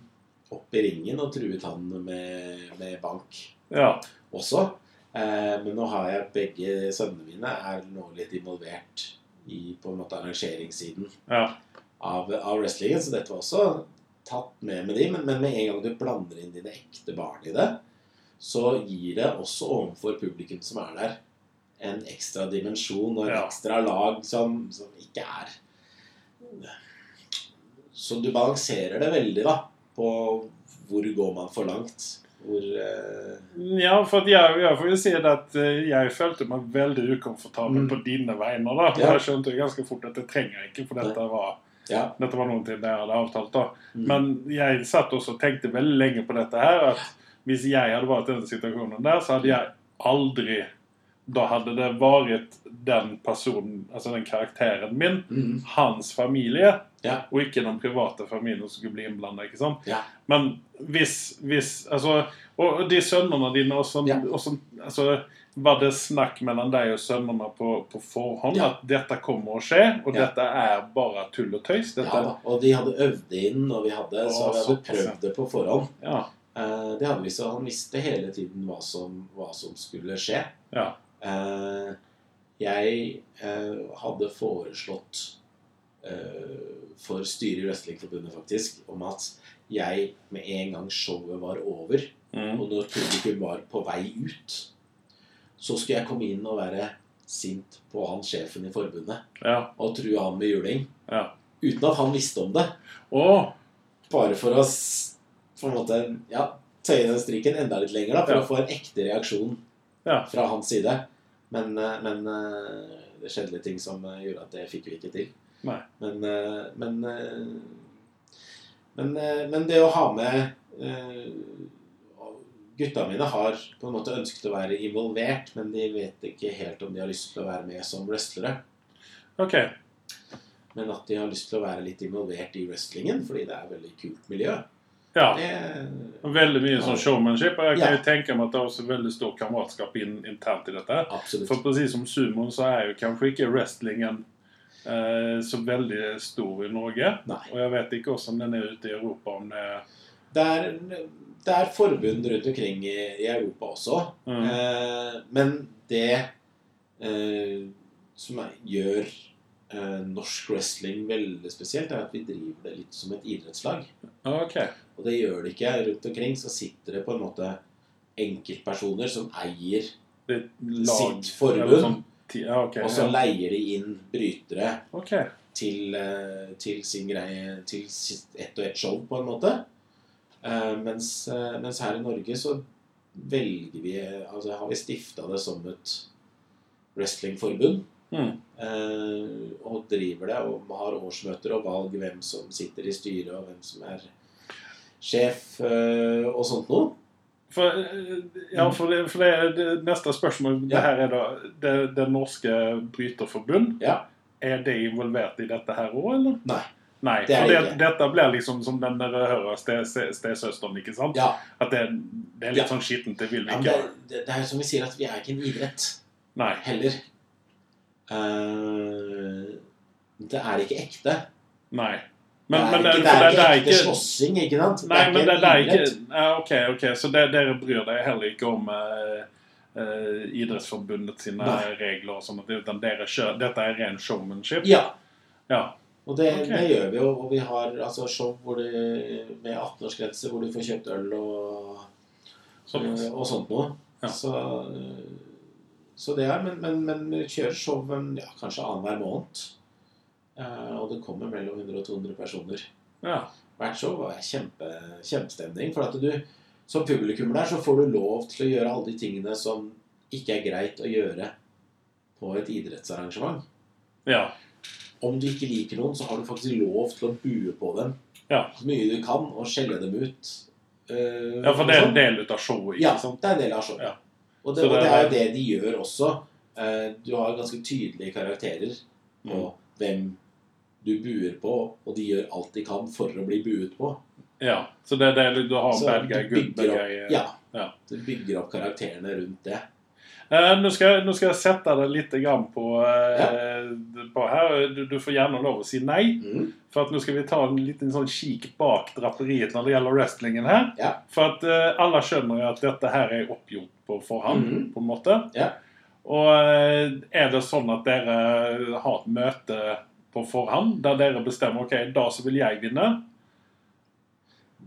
opp i ringen og truet han med, med bank
Ja.
også. Eh, men nå har jeg begge sønnene mine er nå litt involvert i på en måte arrangeringssiden.
ja.
av, av wrestlingen, så dette var også tatt med med de, men, men med en gang du blander inn dine ekte barn i det, så gir det også overfor publikum som er der, en ekstra dimensjon og en
Ja.
ekstra lag som, som ikke er Så du balanserer det veldig, da, på hvor går man for langt. Hvor eh,
ja, for at jeg, jeg får jo si det at eh, jeg følte meg veldig ukomfortabel
Mm.
på dine vegne. da. For
Ja.
Jeg skjønte jo ganske fort at det trenger jeg ikke, for dette var,
Ja.
dette var noe jeg hadde avtalt. da.
Mm.
Men jeg satt også og tenkte veldig lenge på dette her, at hvis jeg hadde vært i den situasjonen der, så hadde jeg aldri Da hadde det vært den personen, altså den karakteren min,
mm,
hans familie,
Ja.
og ikke den private familien som skulle bli innblanda, ikke sant?
Ja.
Men hvis, hvis Altså, og de sønnene dine også,
Ja.
også altså, Var det snakk mellom deg og sønnene på, på forhånd
Ja.
at dette kommer å skje, og
Ja.
dette er bare tull og tøys?
ja
Dette,
da. Og de hadde øvd inn, og vi hadde,
Å,
så vi hadde
såpass, ja.
prøvd det på forhånd.
ja.
Eh, det hadde vi, så han visste hele tiden hva som, hva som skulle skje.
Ja.
Eh, jeg eh, hadde foreslått eh, for styret i Wrestlingforbundet faktisk om at jeg med en gang showet var over,
Mm.
og når publikum var på vei ut, så skulle jeg komme inn og være sint på han sjefen i forbundet
ja.
og true han med juling.
Ja.
Uten at han visste om det.
Å,
Bare for å s- på en måte, ja, tøye den strikken enda litt lenger, da, for
Ja.
å få en ekte reaksjon
Ja.
fra hans side. Men, eh, men eh, det skjedde litt ting som eh, gjorde at det fikk vi ikke til.
Nei.
Men, eh, men, eh, men, eh, men det å ha med eh, Gutta mine har på en måte ønsket å være involvert, men de vet ikke helt om de har lyst til å være med som wrestlere.
OK.
Men at de har lyst til å være litt involvert i wrestlingen, fordi det er et veldig kult miljø.
Ja.
Det,
Veldig mye sånn showmanship. Og jeg kan
Ja.
jo tenke meg at det er også veldig stor kameratskap inn, internt i dette. For
absolutt.
precis som sumon så er jo kanskje ikke wrestlingen eh, så veldig stor i Norge.
Nei.
Og jeg vet ikke også om den er ute i Europa, om det er
Det er, det er forbund rundt omkring i, i Europa også.
mm.
Eh, men det eh, som er, gjør eh, norsk wrestling veldig spesielt, er at vi driver det litt som et idrettslag.
OK.
Og det gjør det ikke rundt omkring. Så sitter det på en måte enkeltpersoner som eier,
Det er et lag
Sitt forbund.
eller sånn ti- Ja, OK.
og så
Ja.
leier de inn brytere.
Ok.
til, eh, til sin greie til sitt- ett og ett show, på en måte. Eh, mens, eh, mens her i Norge så velger vi eh, Altså har vi stifta det som et wrestlingforbund.
Mm.
eh, og driver det og har årsmøter og valg hvem som sitter i styret, og hvem som er sjef eh, og sånt noe.
For, eh, ja, for, det, for det, det neste spørsmål
Mm. Ja.
det her er da det, det norske bryterforbund.
Ja.
Er det involvert i dette her òg, eller?
Nei.
Nei,
Det er
for det,
ikke.
dette blir liksom som den der hører ste- ste- stesøsteren, ikke sant?
Ja,
At det, det er litt
Ja.
sånn skittent, det vil vi
ja men
ikke.
det, det, det er jo som vi sier, at vi er ikke en idrett.
Nei.
heller. Eh, det er ikke ekte.
Nei. Men,
det, er
men,
ikke,
for
det er ikke
det
ekte
er ikke
slåssing, ikke sant?
Nei, men det, det er
en idrett.
ikke ja, OK, ok, så det, dere bryr dere heller ikke om eh, eh, Idrettsforbundet sine
Nei.
regler og sånt, utan dere kjører Dette er ren showmanship?
Ja.
Ja.
Og det,
Ok.
det gjør vi jo. Og vi har altså, show hvor du, med 18-årsgrense hvor du får kjøpt øl og,
Såpass.
eh, og sånt noe.
Sånn. Ja.
Så, eh, så det er Men, men, men vi kjører show en- ja, kanskje annenhver måned. Eh, og det kommer mellom 100 og 200 personer.
Ja.
hvert show var kjempe, kjempestemning. For at du, som publikummer der, så får du lov til å gjøre alle de tingene som ikke er greit å gjøre på et idrettsarrangement.
ja.
Om du ikke liker noen, så har du faktisk lov til å bue på dem
Ja.
så mye du kan, og skjelle dem ut. Eh,
Ja, for det er
og
en
sånn.
del ut av showet,
Ja,
ikke sant?
det er en del av showet.
Ja.
Og, det,
Så det
og det
er-
er jo det de gjør også. Eh, Du har ganske tydelige karakterer på
Mm.
hvem du buer på, og de gjør alt de kan for å bli buet på.
Ja. Så det er det du har
Så
bad guy,
du
good bad
bygger
guy eh,
opp, ja,
ja.
Du bygger opp karakterene rundt det.
Eh, nå, skal, jeg- nå skal jeg sette deg litt grann på, eh, på her. Du, du får gjerne lov å si nei. For at nå skal vi ta en liten sånn kikk bak draperiet når det gjelder wrestlingen her.
Ja.
For at eh, alle skjønner jo at dette her er oppgjort på forhånd,
Mhm.
på en måte.
Ja.
Og eh, er det sånn at dere har et møte på forhånd der dere bestemmer ok, i dag så vil jeg vinne?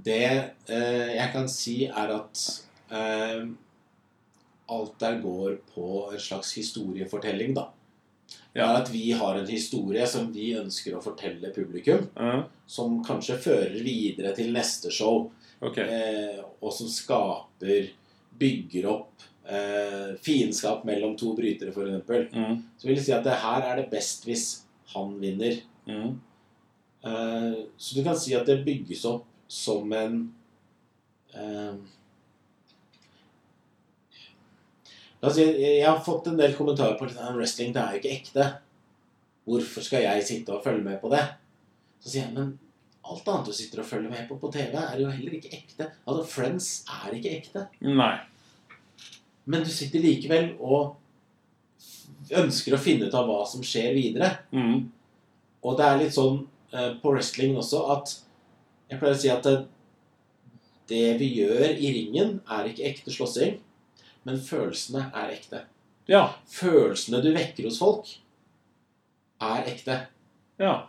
Det eh, jeg kan si, er at eh, alt der går på en slags historiefortelling, da. Det
Ja.
er at vi har en historie som vi ønsker å fortelle publikum,
Mhm.
som kanskje fører videre til neste show.
Ok.
eh, og som skaper Bygger opp eh, fiendskap mellom to brytere, f.eks.
Mhm.
Så vil jeg si at det her er det best hvis han vinner.
Mhm.
Eh, så du kan si at det bygges opp som en eh, La oss si, jeg har fått en del kommentarer på at "Ah, wrestling det er jo ikke ekte. Hvorfor skal jeg sitte og følge med på det? Så sier jeg, men alt annet du sitter og følger med på på TV, er jo heller ikke ekte. Altså, Friends er ikke ekte.
Nei.
Men du sitter likevel og ønsker å finne ut av hva som skjer videre.
Mhm.
Og det er litt sånn eh, på wrestlingen også at Jeg pleier å si at det, Det vi gjør i ringen, er ikke ekte slåssing, men følelsene er ekte.
Ja.
Følelsene du vekker hos folk, er ekte.
ja.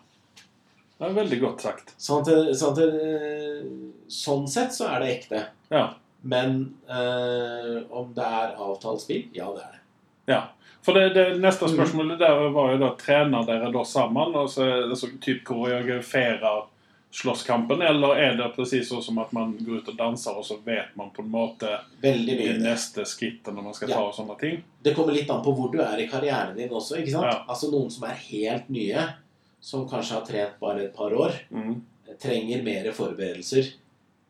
Det er veldig godt sagt.
Sånn, at, det- sånn, at, det- sånn sett så er det ekte.
Ja.
Men eh, om det er avtalt spill? Ja, det er det.
For det, det neste
Mhm.
spørsmålet der var jo da Trener dere da sammen? Altså, altså typ koreograferer slåsskampen? Eller er det presis sånn som at man går ut og danser, og så vet man på en måte
Veldig
det
mye. det.
neste skrittet når man skal
Ja.
ta og sånne ting?
Det kommer litt an på hvor du er i karrieren din også. ikke sant?
Ja.
Altså Noen som er helt nye, som kanskje har trent bare et par år,
Mhm.
trenger mer forberedelser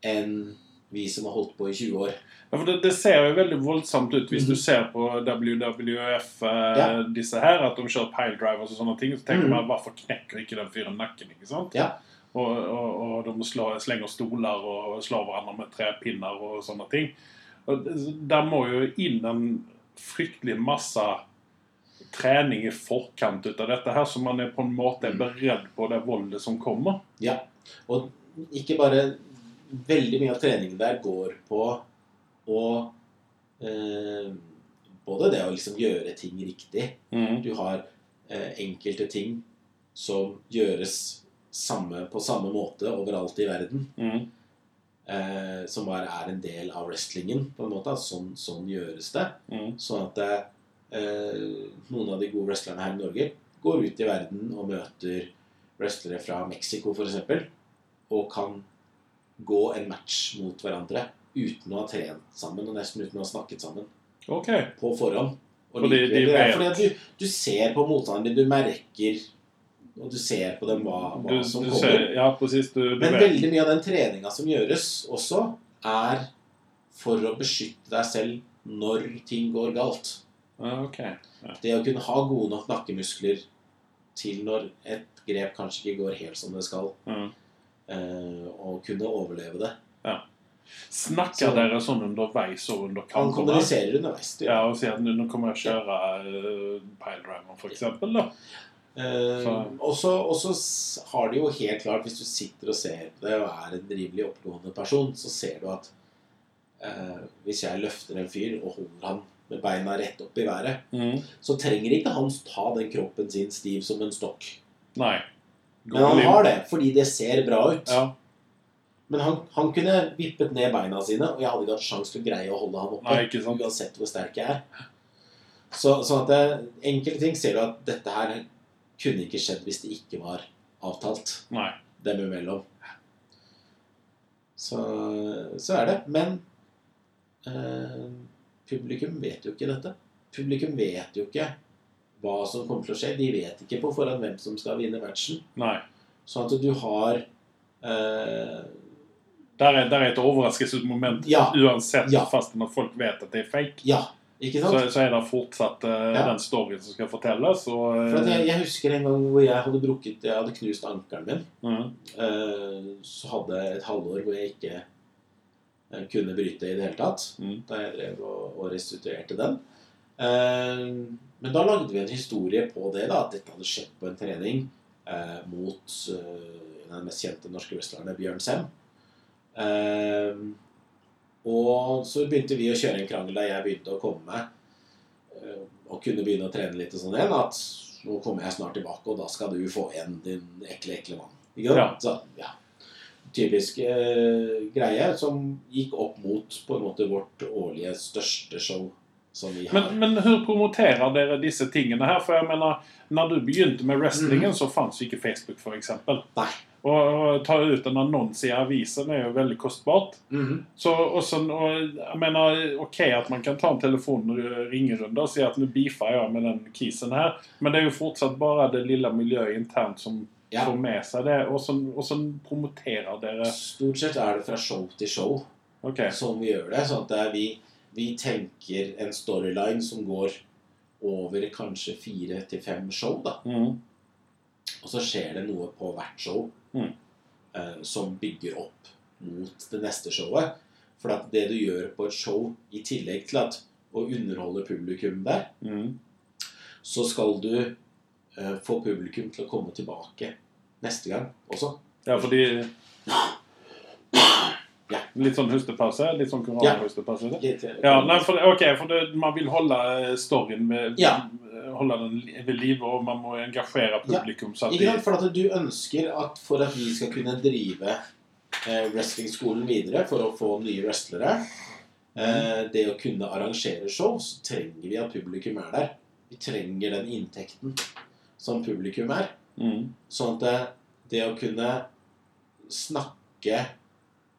enn vi som har holdt på i 20 år.
Ja, for det, det ser jo veldig voldsomt ut hvis
Mhm.
du ser på WWF, eh,
Ja.
disse her, at de kjører piledrivers og sånne ting. Så tenker
Mhm.
man hvorfor knekker ikke den fyren nakken? ikke sant?
Ja.
Og, og, og de slår, slenger stoler og slår hverandre med trepinner og sånne ting. Og det- der må jo inn en fryktelig masse trening i forkant ut av dette her, så man er på en måte
Mhm.
beredd på det voldet som kommer.
Og ikke bare Veldig mye av treningen der går på å eh, Både det å liksom gjøre ting riktig, Du har eh, enkelte ting som gjøres samme, på samme måte overalt i verden.
Mhm.
Eh, som bare er en del av wrestlingen, på en måte. at Sånn, sånn gjøres det.
Mhm.
Sånn at eh, eh, noen av de gode wrestlerne her i Norge går ut i verden og møter wrestlere fra Mexico f.eks. Og kan gå en match mot hverandre uten å ha trent sammen og nesten uten å ha snakket sammen
Ok.
på forhånd. Og
Fordi de
likevel, det er
vet.
fordi at du, du ser på motstanderen din, du merker Og du ser på dem hva, hva
Du,
som
du
kommer.
ser, ja, presis. Du, du
Men
vet.
veldig mye av den treninga som gjøres også, er for å beskytte deg selv når ting går galt.
Ja, ok.
Det å kunne ha gode nok nakkemuskler til når et grep kanskje ikke går helt som det skal,
Mhm.
eh, og kunne overleve det.
Snakker
Så-
dere sånn underveis og under
Han
kampen?
kommuniserer underveis. det gjør
Ja, og sier at nå nå kommer jeg å kjøre uh, piledriver, for eksempel. Da.
Eh,
Så-
og så- og så s- har de jo helt klart, hvis du sitter og ser på det og er en rimelig oppegående person, så ser du at eh, hvis jeg løfter en fyr og holder han med beina rett opp i været, så trenger ikke han ta den kroppen sin stiv som en stokk.
Nei.
Men han har det fordi det ser bra ut.
Ja.
Men han, han kunne vippet ned beina sine, og jeg hadde ikke hatt sjanse til å greie å holde han oppe.
Nei, ikke sant.
Uansett hvor sterk jeg er. Så, sånn at det, enkelte ting ser du at dette her kunne ikke skjedd hvis det ikke var avtalt
Nei.
dem imellom. Så, så er det. Men eh, publikum vet jo ikke dette. Publikum vet jo ikke hva som kommer til å skje. De vet ikke på forhånd hvem som skal vinne matchen.
Nei.
Sånn at du har eh,
Der er, der er et overraskelsesmoment
Ja.
uansett,
Ja.
fast når folk vet at det er fake.
Ja, ikke sant?
Så, så er det fortsatt eh,
Ja.
den storyen som skal fortelles. Og, eh,
For at jeg, jeg husker en gang hvor jeg hadde brukket Jeg hadde knust ankelen min.
mhm.
Eh, Så hadde jeg et halvår hvor jeg ikke eh, kunne bryte i det hele tatt.
Mm.
Da jeg drev og, og restituerte den. Eh, Men da lagde vi en historie på det, da, at dette hadde skjedd på en trening eh, mot eh, den mest kjente norske wrestlerne, Bjørn Sem. Eh, og så begynte vi å kjøre en krangel da jeg begynte å komme meg eh, og kunne begynne å trene litt og sånn igjen. At nå kommer jeg snart tilbake, og da skal du få igjen din ekle, ekle mann. Ikke sant? Så, ja. Typisk eh, greie som gikk opp mot på en måte vårt årlige største show som vi har.
Men, men hvordan promoterer dere disse tingene her? For jeg mener, når du begynte med
Mm.
wrestlingen, så fantes jo ikke Facebook, f.eks.
Nei.
Å å ta ut en annonse i avisen er jo veldig kostbart.
Mhm.
Så, og så, og, jeg mener, ok at man kan ta en telefon og ringe rundt og si at nå beefer jeg med den kisen her, men det er jo fortsatt bare det lille miljøet internt som
Ja.
får med seg det. Og så, og så promoterer dere
Stort sett er det fra show til show
Ok.
som vi gjør det. Sånn at det er vi, vi tenker en storyline som går over kanskje fire til fem show, da.
Mm,
Og så skjer det noe på hvert show
Mm.
eh, som bygger opp mot det neste showet. For at det du gjør på et show, i tillegg til at å underholde publikum der,
mm,
så skal du eh, få publikum til å komme tilbake neste gang også.
ja, fordi
Ja.
Litt sånn hustepause? Litt sånn koronahustepause?
Litt, eh,
Ja, nei, for, ok, for det, man vil holde eh, storyen ved,
Ja.
holde den li- ved live, og man må engasjere publikum. Så at
Ikke
de,
sant? For at du ønsker at for at vi skal kunne drive eh, wrestlingskolen videre for å få nye wrestlere eh,
Mm.
Det å kunne arrangere show, så trenger vi at publikum er der. Vi trenger den inntekten som publikum er.
mm,
Sånn at det, det å kunne snakke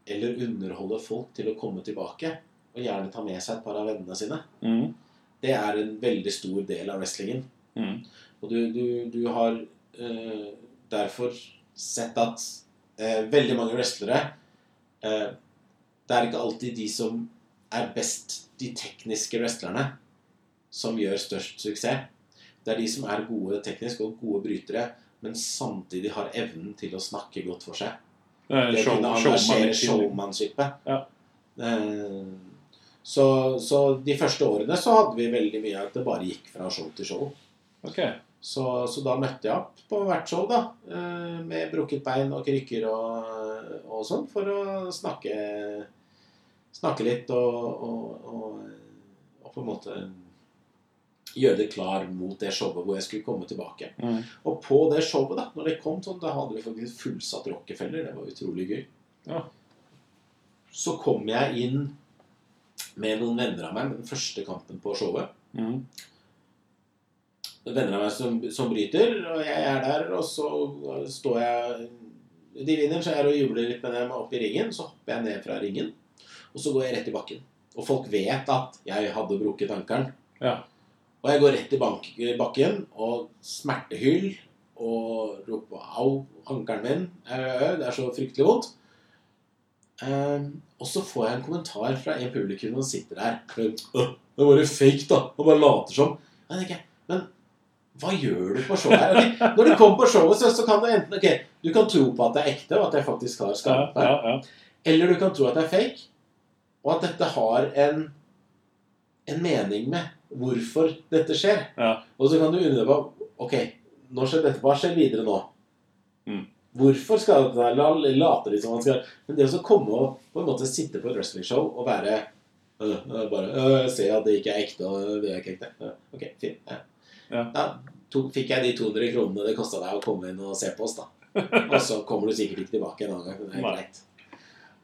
eller underholde folk til å komme tilbake, og gjerne ta med seg et par av vennene sine,
mm,
det er en veldig stor del av wrestlingen.
mm,
Og du, du, du har eh, derfor sett at eh, veldig mange wrestlere eh, Det er ikke alltid de som er best, de tekniske wrestlerne, som gjør størst suksess. Det er de som er gode teknisk og gode brytere, men samtidig har evnen til å snakke godt for seg.
det er
Det å
show,
kunne
showman
engasjere
i tillegg.
showmanshipet.
Ja.
Eh, så, så de første årene så hadde vi veldig mye av at det bare gikk fra show til show.
Ok.
Så, så da møtte jeg opp på hvert show, da. eh, Med brukket bein og krykker og, og sånn, for å snakke, snakke litt og, og, og, og på en måte gjøre det klar mot det showet hvor jeg skulle komme tilbake.
Mm.
Og på det showet, da, når det kom sånn, da hadde vi faktisk fullsatt Rockefeller. Det var utrolig gøy.
Ja.
Så kom jeg inn med noen venner av meg med den første kampen på showet
Mm.
venner av meg som, som bryter, og jeg er der, og så står jeg De vinner, så jeg er og jubler litt med dem opp i ringen. Så hopper jeg ned fra ringen, og så går jeg rett i bakken. Og folk vet at jeg hadde brukket ankelen.
Ja.
Og jeg går rett i bank, bakken og smertehyll og roper 'au, ankelen min', au, au, au, det er så fryktelig vondt. Ehm, og så får jeg en kommentar fra en publikum som sitter der. «Åh, Det var jo fake, da. Han bare later som. Jeg tenker, men hva gjør du på showet her? Ok, Når du kommer på showet, så, så kan du enten Ok, du kan tro på at det er ekte, og at jeg faktisk har
Ja,
skadet meg.
ja, ja.
Eller du kan tro at det er fake, og at dette har en, en mening med hvorfor dette skjer.
Ja.
Og så kan du undre deg på Ok, nå skjer dette, hva skjer videre nå?
Mm.
Hvorfor skal dette her? La- Later de som han skal Men det å så komme og på en måte sitte på et wrestlingshow og være øh, øh, bare øh, Se at det ikke er ekte, og det er ikke ekte. Øh, ok, fint. Ja.
Ja.
Da to, fikk jeg de 200 kronene det kosta deg å komme inn og se på oss, da. Og så kommer du sikkert ikke tilbake en annen gang. Men det er
Nei.
greit.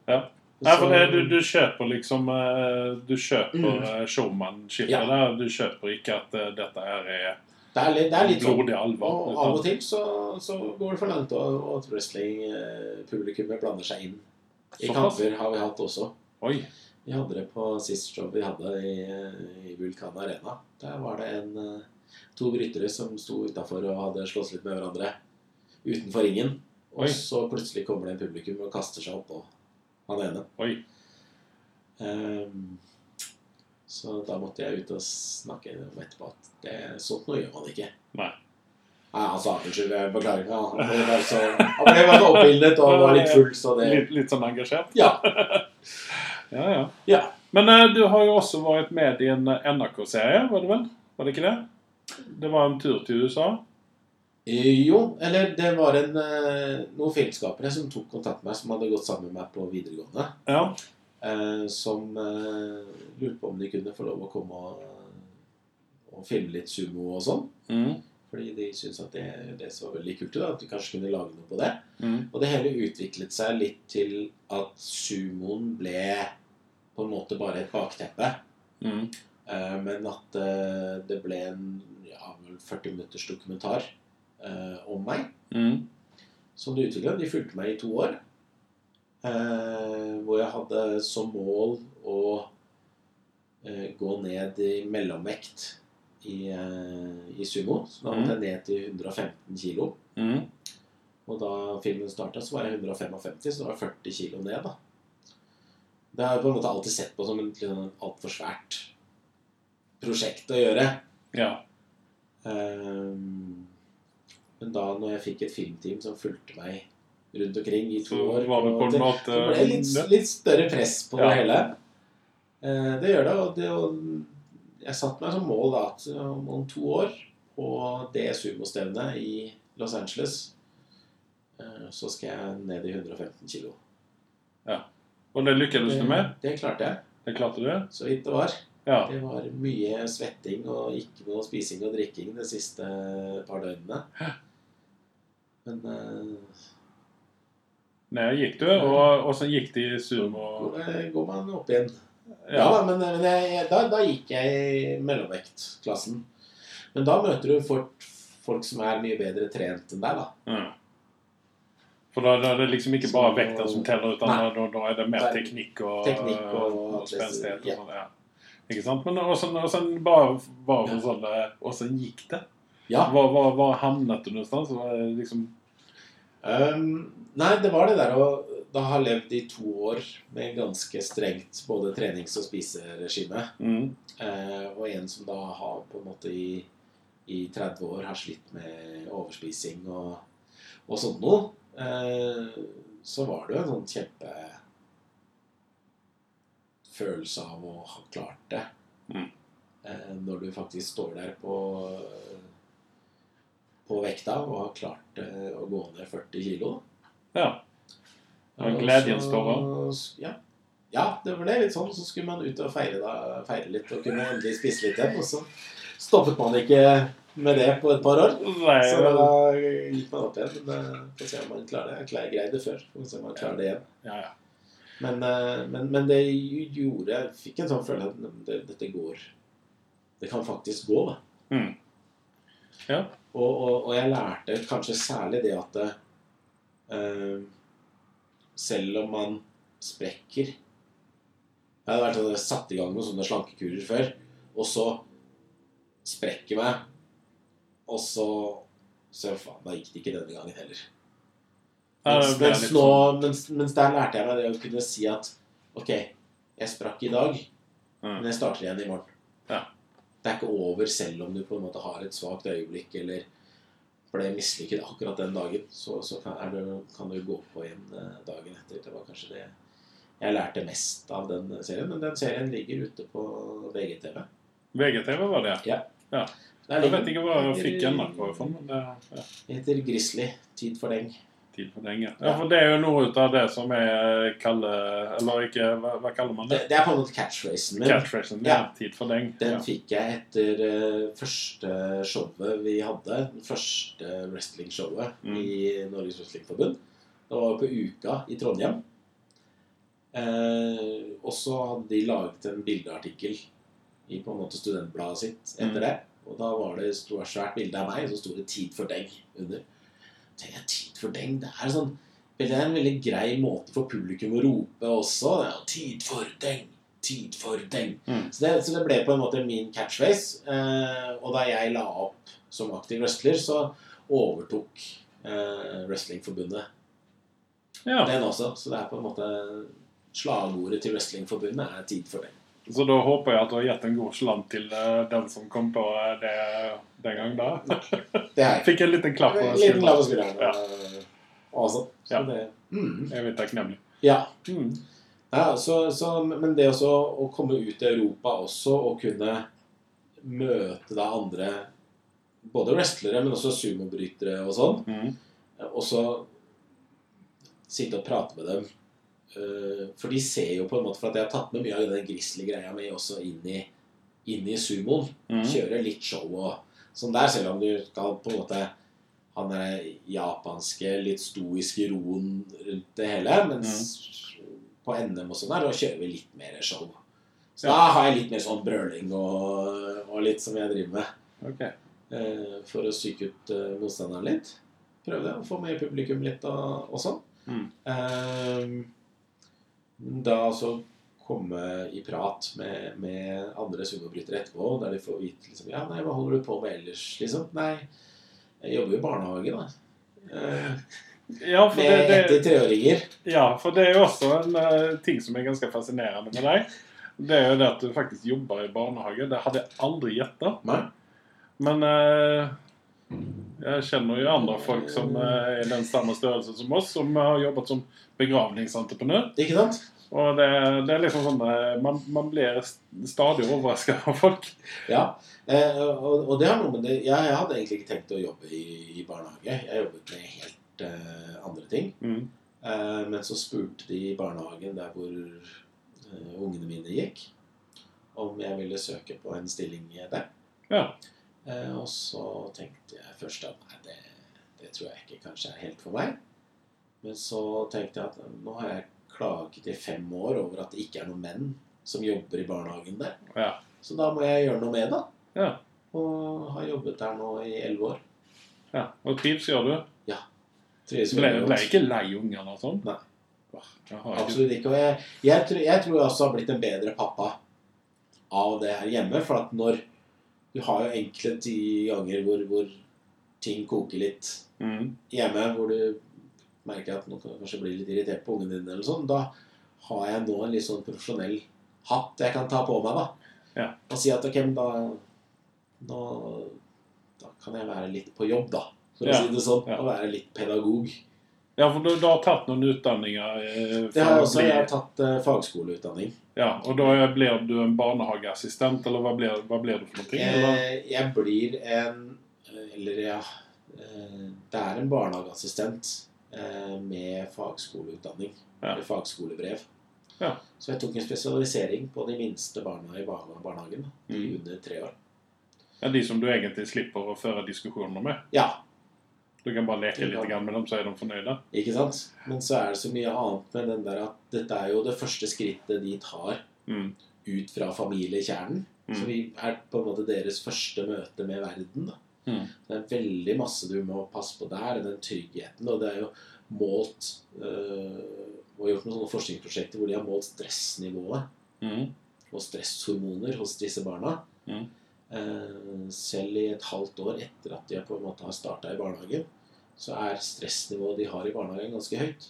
Ja. Nei, for det,
Så-
eh, du, du kjøper liksom eh, Du kjøper
Mm.
eh, showmanshipet
Ja.
der. Du kjøper ikke at eh, dette her er
Det er litt, det er litt sånn.
blodig alvor.
Og av og til så, så går det for langt, og, og at wrestlingpublikummet blander seg inn. I
Såpass?
kamper har vi hatt også.
Oi.
Vi hadde det på sist show vi hadde i, eh, i Vulkan Arena. Der var det en, eh, to brytere som sto utafor og hadde slåss litt med hverandre utenfor ringen. Og
Oi.
så plutselig kommer det en publikum og kaster seg oppå han ene.
Oi.
Ehm, så da måtte jeg ut og snakke om etterpå at det, sånt noe gjør man ikke.
Nei.
Nei, han sa unnskyld, jeg beklager. Ja, Han ble bare så, han ble bare så oppildnet og var litt full, så det
Litt, litt sånn engasjert?
Eh, Ja.
ja, ja.
Ja.
Men eh, du har jo også vært med i en eh, NRK-serie, var det vel? Var det ikke det? Det var en tur til USA?
Jo, eller det var en, eh, noen filmskapere som tok kontakt med meg, som hadde gått sammen med meg på videregående,
Ja.
eh, som eh, lurte på om de kunne få lov å komme og, og filme litt sumo og sånn.
Mm.
Fordi de syntes at det, det så veldig kult ut, da, at de kanskje kunne lage noe på det.
Mm.
Og det hele utviklet seg litt til at sumoen ble på en måte bare et bakteppe.
Mm.
Eh, Men at eh, det ble en ja, vel 40 minutters dokumentar eh, om meg.
Mm.
Som det utviklet. De fulgte meg i to år. Eh, Hvor jeg hadde som mål å eh, gå ned i mellomvekt i, eh, i sumo. Så da måtte jeg ned til 115 kilo.
Mm.
Og da filmen starta, så var jeg 155, så det var 40 kilo ned, da. Det har jeg på en måte alltid sett på som et altfor svært prosjekt å gjøre.
Ja.
Ehm, men da når jeg fikk et filmteam som fulgte meg rundt omkring i to
Så
år
var det
og
på en
det,
måte
så ble det litt, litt større press på
Ja.
det hele. Eh, det gjør det, og det og jeg satte meg som mål da, at eh, om, om to år på det sumostevnet i Los Angeles eh, så skal jeg ned i 115 kilo.
Ja. Og det lykkes du
Det,
med?
det klarte jeg.
Det klarte du?
Så vidt det var.
Ja.
Det var mye svetting og ikke noe spising og drikking de siste par døgnene. Men eh,
Ned gikk du, og, og så gikk de i sumo.
går, går man opp igjen. Ja,
Ja.
da, men, men jeg, da, da gikk jeg i mellomvektklassen. Men da møter du folk, folk som er mye bedre trent enn deg, da.
Mm. For da, da er det liksom ikke bare vekten som teller, utan
Nei.
da, da er det mer teknikk og,
Teknikk og
spenstighet.
ja.
Og sånt, ja. Ikke sant? Men og sen, og sen bare, bare
Ja.
sånn eh, Og sen gikk det.
Ja.
Hvor, hvor, hvor havnet du någonstans? Var det Liksom,
Ehm, nei, det var det der å da ha levd i to år med ganske strengt både trenings- og spiseregime.
mm.
Eh, og en som da har på en måte i, i 30 år har slitt med overspising og, og sånt noe, eh, så var det jo en sånn kjempe følelse av å ha klart det.
Mm.
Eh, når du faktisk står der på, på vekta og har klart eh, å gå ned 40 kilo.
Ja. Det var en gledens tårer.
Så- Ja. ja, det var det. Litt sånn, så skulle man ut og feire, da, feire litt og kunne endelig spise litt igjen. Og så stoppet man ikke med det på et par år.
Nei,
Så da gikk man opp igjen. Men eh, får se om man klarer det. Jeg klar- greide det før. Får se om man klarer det igjen.
ja, ja.
Men, eh, men, men det gjorde Jeg fikk en sånn følelse at "Nei, det, dette går. Det kan faktisk gå, da.
Mm. Ja.
Og, og, og jeg lærte kanskje særlig det at eh, selv om man sprekker Jeg hadde vært sånn, jeg satt i gang med sånne slankekurer før, og så sprekker jeg meg, og så Så faen, da gikk det ikke denne gangen heller.
Ja,
Mens,
det ble
mens,
litt
nå,
sånn.
mens, mens der lærte jeg meg det å kunne si at Ok, jeg sprakk i dag,
Mm.
men jeg starter igjen i morgen.
Ja.
Det er ikke over selv om du på en måte har et svakt øyeblikk eller ble mislykket akkurat den dagen. Så, så kan, er det, kan du gå på igjen eh, dagen etter. Det var kanskje det jeg lærte mest av den serien. Men den serien ligger ute på VGTV.
VGTV var det.
Der
Jeg
ligger
vet
den.
ikke hva jeg
ligger
fikk
i-
ennå på. men det, ja.
Heter Grizzly. Tid for deng.
Tid for lenge. Ja, for det er jo noe ut av det som er kalle... Eller ikke, hva, hva kaller man det?
Det, det er på en måte catchphrasen min.
Catchphrasen. Ja.
Ja.
Tid for lenge.
Den
Ja.
fikk jeg etter eh, første showet vi hadde. Det første wrestlingshowet
Mm.
i Norges Wrestlingforbund. Det var på Uka i Trondheim. Eh, og så hadde de laget en bildeartikkel i på en måte studentbladet sitt etter
Mm.
det. Og da var det et stort, svært bilde av meg, og så sto det 'Tid for deng' under. Tenk, jeg, tid for deng, det er sånn det er en veldig grei måte for publikum å rope også. Det er, tid for deng! Tid for deng!
Mm.
Så, det, så det ble på en måte min catchphrase. Eh, og da jeg la opp som aktiv wrestler, så overtok eh, Wrestlingforbundet
Ja.
den også. Så det er på en måte slagordet til Wrestlingforbundet er 'tid for deng'.
Så da håper jeg at du har gitt en god slant til eh, den som kom på eh, det den gang da.
Det er jeg.
Fikk en liten klapp på
Liten klapp på
skulderen.
skulderen.
Ja.
eh, Og sånn. Så
Ja.
det mm.
Evig takknemlig.
Ja.
Mm.
Ja, så, så, men det også å komme ut i Europa også og kunne møte da andre Både wrestlere, men også sumobrytere og sånn.
Mm.
Og så sitte og prate med dem. Eh, For de ser jo på en måte For at jeg har tatt med mye av den grizzly-greia mi også inn i, inn i sumoen
Mm.
kjøre litt show og sånn der, selv om du skal på en måte ha den der japanske, litt stoiske roen rundt det hele.
Mm.
Mens på NM og sånn der, da kjører vi litt mer show. Så
Ja.
da har jeg litt mer sånn brøling og, og litt som jeg driver med.
Ok.
Eh, for å psyke ut eh, motstanderen litt. Prøve det, og få med publikum litt og, og sånn.
Mm.
Eh, da så komme i prat med, med andre sumobrytere etterpå, der de får vite liksom, ja, nei, hva holder du på med ellers? Liksom, nei, jeg jobber jo i barnehage, da. Eh,
Ja, for det,
med
det,
etter treåringer.
ja, for det er jo også en eh, ting som er ganske fascinerende med deg. Det er jo det at du faktisk jobber i barnehage. Det hadde jeg aldri gjetta.
Nei.
Men eh, jeg kjenner jo andre folk som eh, er den samme størrelse som oss, som har jobbet som begravningsentreprenør.
Ikke sant?
Og det, det er liksom sånn eh, Man, man blir st- stadig overraska av folk.
Ja. Eh, og, og det har noe med det jeg, jeg hadde egentlig ikke tenkt å jobbe i, i barnehage. Jeg jobbet med helt eh, andre ting.
Mm.
Eh, Eh, men så spurte de i barnehagen der hvor eh, ungene mine gikk, om jeg ville søke på en stilling der.
Ja.
Eh, og så tenkte jeg først at nei, det, det tror jeg ikke kanskje er helt for meg. Men så tenkte jeg at nå har jeg klaget i fem år over at det ikke er noen menn som jobber i barnehagen der.
Ja.
Så da må jeg gjøre noe med det.
Ja.
Og har jobbet der nå i elleve år.
ja. Og trives, gjør du?
Trives
Ble,
veldig godt.
ble ikke lei ungene og sånn?
Nei.
Åh, Jeg har ikke
Absolutt ikke. Og jeg, jeg, tror, jeg tror jeg også har blitt en bedre pappa av det her hjemme. For at når Du har jo enkle ti ganger hvor, hvor ting koker litt
mm.
hjemme, hvor du merker at nå kan jeg kanskje bli litt irritert på ungene dine, eller sånn, da har jeg nå en litt sånn profesjonell hatt jeg kan ta på meg, da.
Ja.
Og si at ok, men da nå, Da kan jeg være litt på jobb, da. For
Ja.
å si det sånn.
Ja.
Og være litt pedagog.
Ja, for du, du har tatt noen utdanninger eh,
Det
for å
har jeg også.
bli-
Jeg har tatt eh, fagskoleutdanning.
Ja, Og da blir du en barnehageassistent, eller hva blir, hva blir du for noe? Eller?
Jeg, jeg blir en Eller ja eh, Det er en barnehageassistent eh, med fagskoleutdanning.
Ja.
Eller fagskolebrev.
Ja.
Så jeg tok en spesialisering på de minste barna i barne- barnehagen. da, De
Mm.
under tre år.
Ja, de som du egentlig slipper å føre diskusjoner med?
Ja,
Du kan bare leke
Du
litt
kan.
grann med dem, så er de fornøyde?
ikke sant? Men så er det så mye annet med den der at dette er jo det første skrittet de tar
Mm.
ut fra familiekjernen. Så
Mm.
vi er på en måte deres første møte med verden. Da.
Mm.
Det er veldig masse du må passe på der, den tryggheten. Og det er jo målt øh, Og gjort noen sånne forskningsprosjekter hvor de har målt stressnivået
Mm.
og stresshormoner hos disse barna.
Mm.
Eh, selv i et halvt år etter at de på en måte har starta i barnehagen, så er stressnivået de har i barnehagen, ganske høyt.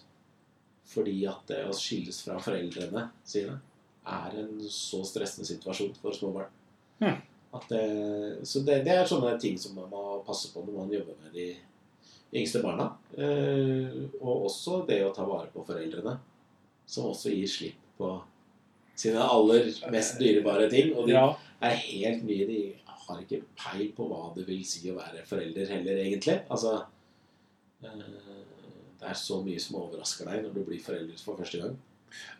Fordi at det å skilles fra foreldrene sine er en så stressende situasjon for små barn.
Mm.
At det, så det, det er sånne ting som man må passe på når man jobber med de yngste barna. Eh, og også det å ta vare på foreldrene, som også gir slipp på sine aller mest dyrebare ting. Og de
Ja.
er helt nye. De har ikke peil på hva det vil si å være forelder heller, egentlig. Altså eh, Det er så mye som overrasker deg når du blir forelder for første gang.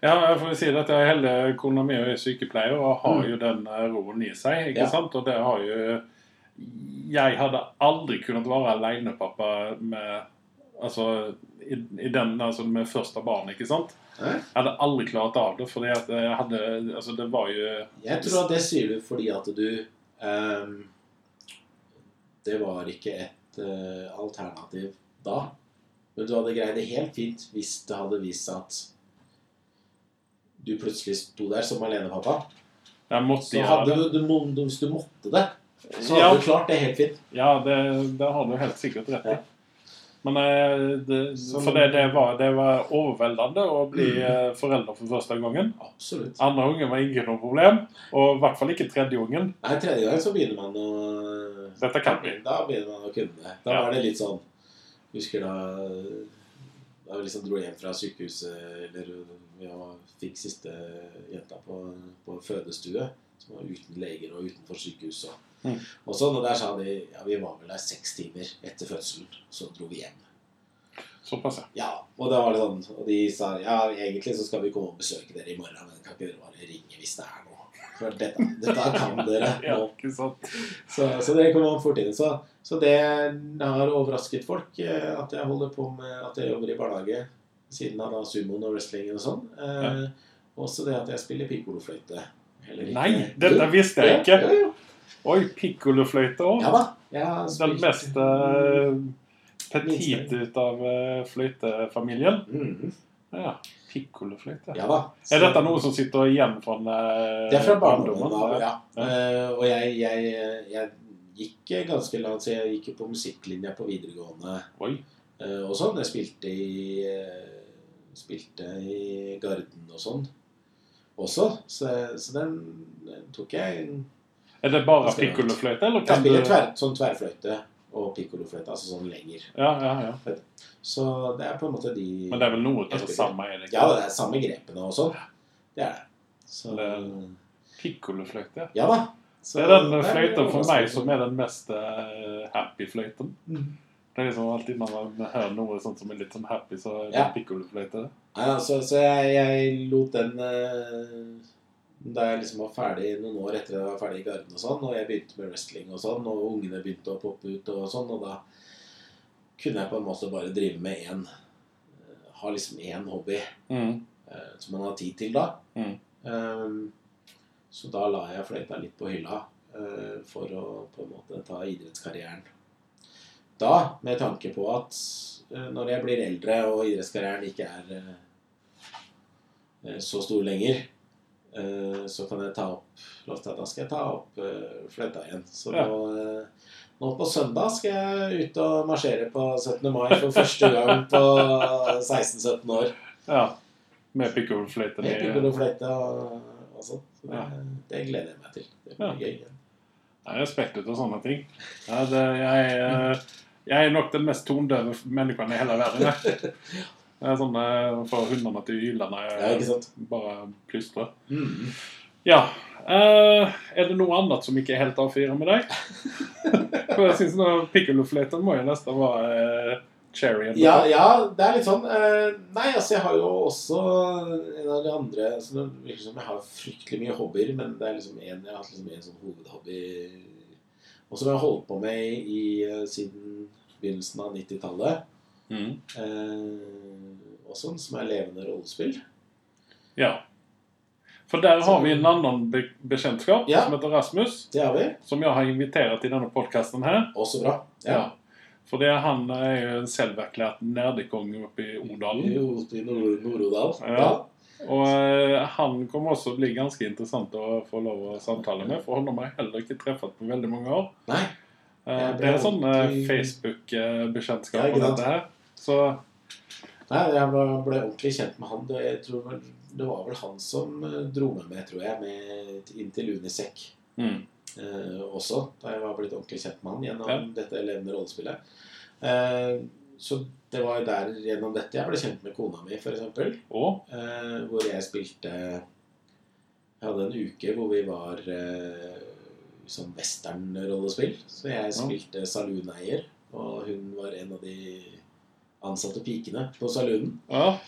Ja, jeg får si det at jeg heller kona mi er sykepleier og har
Mm.
jo den eh, roen i seg. ikke
Ja.
sant? Og det har jo Jeg hadde aldri kunnet være alenepappa med Altså i, i den altså med første barn, ikke sant?
Nei.
Jeg hadde aldri klart av det, fordi at jeg hadde Altså, det var jo
Jeg tror at det sier du fordi at du ehm, Det var ikke et eh, alternativ da. Men du hadde greid det helt fint hvis det hadde vist seg at du plutselig sto der som alenepappa.
Jeg måtte
Så
gjøre
hadde
det.
du, du, må- du, hvis du måtte det, så hadde
Ja.
du klart det helt fint.
Ja, det, det har du helt sikkert rett i.
Ja.
Men eh, det,
Som-
for det, det, var, det var overveldende å bli eh, forelder for første gangen.
Absolutt.
Andre ungen var ikke noe problem, og i hvert fall ikke tredje ungen.
Nei, tredje gang så begynner man å
Dette kan vi.
Da begynner man å kunne det. Da
Ja.
var det litt sånn Husker da da vi liksom dro hjem fra sykehuset eller vi var- fikk siste jenta på, på fødestue, som var uten leger og utenfor sykehus. Og,
Mm.
og sånn, og der sa de ja, vi var vel der seks timer etter fødselen, så dro vi hjem.
Såpass, ja.
Ja, og da var det sånn, og de sa ja, egentlig så skal vi komme og besøke dere i morgen, men kan ikke dere bare ringe hvis det er noe? For dette, dette kan dere
ja
nå.
ikke sant?
Så, så det kom han fort inn. Så, så det har overrasket folk eh, at jeg holder på med at jeg jobber i barnehage siden av da sumoen og wrestlingen og sånn. Eh, Også det at jeg spiller pikolofløyte. Heller ikke.
Nei, dette visste jeg ikke.
Jo, jo, jo.
Oi, pikkolofløyte
Ja
òg.
da. Jeg har
Den
spilt-
mest eh, petit
Minst.
ut av eh, fløytefamilien.
Mhm.
Ja, pikkolofløyte.
Ja da.
Er dette noe som sitter igjen fra eh,
Det er fra barndommen av, ja.
Ja.
Eh, og jeg, jeg, jeg gikk ganske langt, så jeg gikk jo på musikklinja på videregående
Oi.
eh, og sånn. Jeg spilte i, eh, spilte i Garden og sånn også, så, så den tok jeg.
Er det bare
Jeg spiller-
pikkolofløyte, eller
Jeg
kan du
spiller tver, sånn tverrfløyte og pikkolofløyte, altså sånn lenger.
Ja, ja, ja.
Så det er på en måte de
Men det er vel noe av det
Jeg spiller.
samme? er det
Ja,
ikke?
det er samme grepene og sånn. Det er det. Så,
Det- Pikkolofløyte.
ja da.
Det
Så
er den
der- Mhm.
fløyten for meg som er den mest eh, happy fløyten. Det er liksom alltid når man hører noe sånt som er litt sånn happy, så er det
Ja.
pikkolfløyte.
Nei, altså, så jeg, jeg lot den eh, Da jeg liksom var ferdig noen år etter jeg var ferdig i garden og sånn, og jeg begynte med wrestling og sånn, og ungene begynte å poppe ut og sånn, og da kunne jeg på en måte bare drive med én eh, Ha liksom én hobby
Mm.
eh, som man har tid til da.
Mm.
Ehm, så da la jeg fløyta litt på hylla eh, for å på en måte ta idrettskarrieren. Da med tanke på at eh, når jeg blir eldre og idrettskarrieren ikke er eh, eh, så stor lenger, eh, så kan jeg ta opp lovte jeg at Da skal jeg ta opp eh, fløyta igjen. Så
Ja.
nå, eh, nå på søndag skal jeg ut og marsjere på 17. mai for første gang på 16-17 år.
Ja. Med pikkolfløyte.
Jeg
det-
bruker å fløyte og, og sånn. Så det,
Ja.
det gleder jeg meg til. Det blir gøy.
Det er respekt ut og sånne ting. Ja, det, jeg, eh, jeg er nok den mest tondøve mennesken i hele verden. Jeg. Det er sånn eh, får hundene til å yle når
Ja, ikke
jeg
sant?
bare plystrer. Ja. eh, er det noe annet som ikke er helt A4 med deg? For jeg syns pikkolofløyten må jo nesten være eh, cherry.
Ja, ja, det er litt sånn eh, Nei, altså, jeg har jo også en av de andre så Det virker som jeg har fryktelig mye hobbyer, men det er liksom en, jeg har hatt liksom en sånn hovedhobby Og som jeg har holdt på med i, eh, siden begynnelsen av 90-tallet.
Mm.
Eh, og sånn, som er levende rollespill.
ja. For der har vi en annen be bekjentskap
Ja.
som heter Rasmus,
Det har vi.
som jeg har invitert til denne podkasten her.
Også bra.
Ja. For det, han er jo en selverklært nerdekonge oppe i Odalen.
I Os- i Nord- Nord-Odal.
Ja. Og eh, han kommer også bli ganske interessant å få lov å samtale med, for han har jeg heller ikke treffet på veldig mange år.
Nei.
Eh,
Jeg ble
Det er sånn
ordentlig- Ja,
Facebook-bekjentskap
ikke
på
sant?
dette her. Så
Nei, jeg ble, ble ordentlig kjent med han. og Jeg tror vel, det var vel han som eh, dro meg med, tror jeg, med, inn til Unisec
mm,
eh, også. Da jeg var blitt ordentlig kjent med han gjennom
Ja.
dette levende rollespillet. Eh, så det var jo der gjennom dette jeg ble kjent med kona mi, f.eks.
Og
Eh, hvor jeg spilte Jeg hadde en uke hvor vi var eh, sånn western-rollespill. Så jeg spilte salooneier, og hun var en av de ansatte pikene på saloonen.
ja,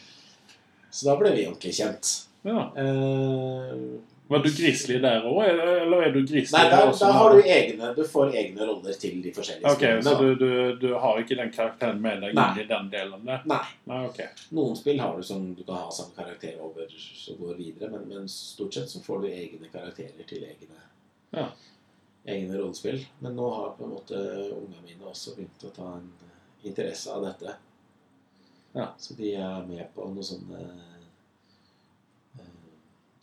Så da ble vi ordentlig kjent.
ja.
Eh,
Var du grizzly der òg, eller er du grizzly
nei, da,
der også?
da har du egne Du får egne roller til de forskjellige
Ok, Så
spillene. da.
du, du, du har ikke den karakteren med deg
Nei.
inn i den delen der?
Nei.
Nei, ok.
Noen spill har du som du kan ha samme karakter over og går videre, men, men stort sett så får du egne karakterer til egne
Ja.
egne rollespill. Men nå har på en måte unga mine også begynt å ta en interesse av dette.
Ja.
Så de er med på noen sånne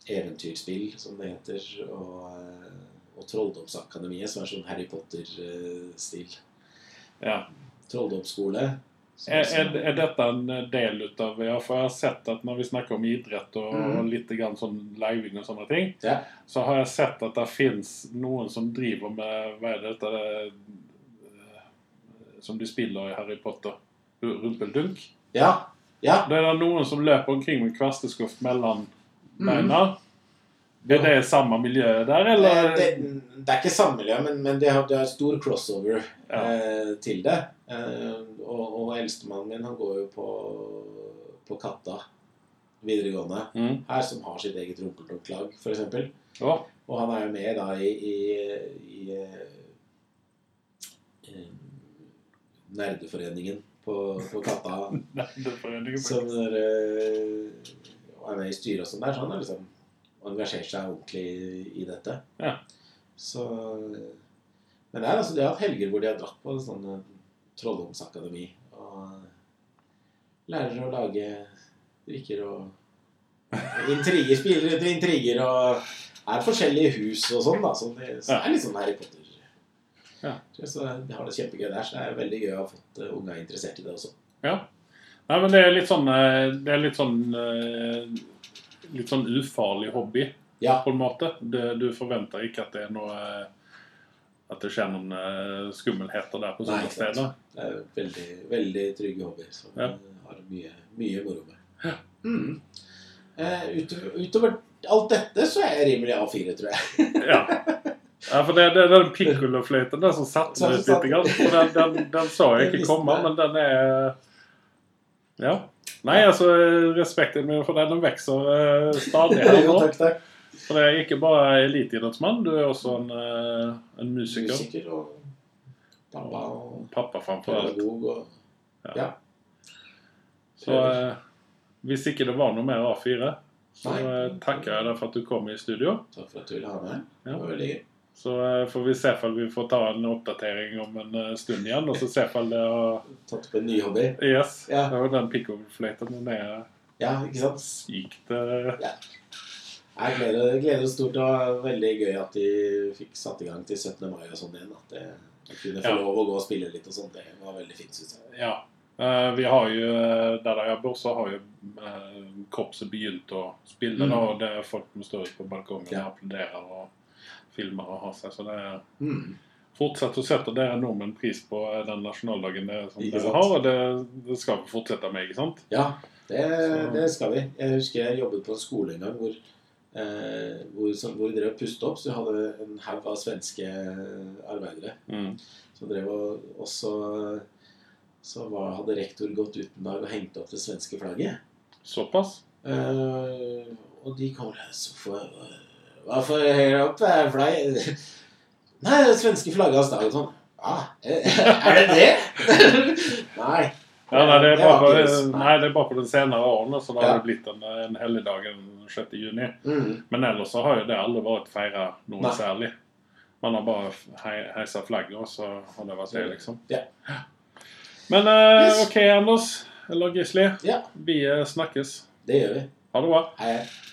eh, eventyrspill, som det heter, og, eh, og Trolldomsakademiet, som er sånn Harry Potter-stil.
Ja.
Trolldomsskole. Sånn som
Er,
også-
er, er dette en del utav ja, For jeg har sett at når vi snakker om idrett og,
Mhm.
og litt grann sånn living og sånne ting,
Ja.
så har jeg sett at det fins noen som driver med Hva er det dette eh, som de spiller i Harry Potter? Rumpeldunk?
ja. Ja.
Det er noen som løper omkring med kvasteskuff mellom
Mhm.
beina. Er det samme miljø der, eller?
Eh, Det, det er ikke samme miljø, men, men det har, det har stor crossover
Ja.
eh, til det. Eh, og, og eldstemannen min, han går jo på, på Katta videregående.
Mhm.
Her som har sitt eget rumpeldunk-lag, f.eks.
Å,
Og han er jo med da i, i, i eh, eh, Nerdeforeningen på, på Katta.
nei, det får jeg ikke
Som når øh, er med i styret og sånn der, så han har liksom engasjert seg ordentlig i dette.
Ja.
Så eh, Men det er altså de har hatt helger hvor de har dratt på en sånn øh, trolldomsakademi og eh, lærer å lage drikker og og intriger, spiller etter intriger og er forskjellige hus og sånn, da. Så det, så det er litt sånn Harry Potter.
Ja.
Så eh, de har det kjempegøy der, så det er veldig gøy å ha fått øh, unga interessert i det også.
Ja. Nei, men det er litt sånn eh, Det er litt sånn eh, Litt sånn ufarlig hobby,
Ja.
på en måte. Du, du forventer ikke at det er noe eh, At det skjer noen eh, skummelheter der på
Nei,
sånne
ikke sant.
steder.
Det er jo veldig, veldig trygge hobbyer som
Ja.
eh, har mye, mye moro med. Mm. Eh, utover, utover alt dette så er jeg rimelig A4, tror jeg.
Ja. Ja, for det, det er den pinkolofløyten, den som satte
Som
meg ut
satt-
lite grann. For den, den, den så jeg
Den
ikke
visste
komme,
jeg.
men den er eh, Ja. Nei, altså, respekten min for den, den vokser eh, stadig her
jo,
nå.
takk, takk.
For det er ikke bare eliteidrettsmann, du er også en, eh, en musiker.
Musiker og pappa og
Pappa framfor alt.
pedagog og
Ja.
Ja.
Så eh, hvis ikke det var noe mer A4, så
Nei.
eh, takker jeg deg for at du kom i studio.
Takk for at du ville ha meg. Det
Ja.
var veldig gøy.
Så eh, får vi se om vi får ta en oppdatering om en eh, stund igjen, og så se om det har
Tatt opp en ny hobby.
Yes.
Ja.
Det var den pickoverfløyta. Den er
Ja, ikke sant?
sykt eh,
Jeg gleder, jeg gleder oss stort. Det var veldig gøy at de fikk satt i gang til 17. mai og sånn igjen. At det- jeg kunne få
Ja.
lov å gå og spille litt og sånt. Det var veldig fint, synes jeg.
Ja. Eh, vi har jo, eh, Der jeg bor, så har jo eh, korpset begynt å spille.
Mm.
Da, og det er folk som står ute på balkongen
Ja.
og applauderer og filmer og har seg. Så det er Fortsett å sette dere nordmenn pris på eh, den nasjonaldagen dere, som
Ikke
dere
sant?
har, og det, det skal vi fortsette med, ikke sant?
Ja, det,
Så-
det skal vi. Jeg husker jeg jobbet på en skole en gang hvor, eh, hvor, som, hvor vi drev og pustet opp. Så vi hadde en haug av svenske arbeidere som drev og og så- Så var, hadde rektor gått ut en dag og hengt opp det svenske flagget.
Såpass?
Eh, og de kommer her, så får Hvorfor høyere opp det er flagg? Nei, det er svenske flagget hans da. Og sånn. Ja, er det det? nei.
Ja, nei, det er bare
var
på,
ikke det.
nei, det er bare på den senere årene, så da
Ja.
har det blitt en, en helligdag den 6. juni.
Mm.
Men ellers så har jo det aldri vært feira noe
Nei.
særlig. Man har bare hei, heisa flagget, og så har det vært det, liksom.
Ja.
Men eh,
Yes.
OK, Anders. Eller Gisli.
Ja.
Vi eh, snakkes.
Det gjør vi.
Ha det bra.
Hei. hei.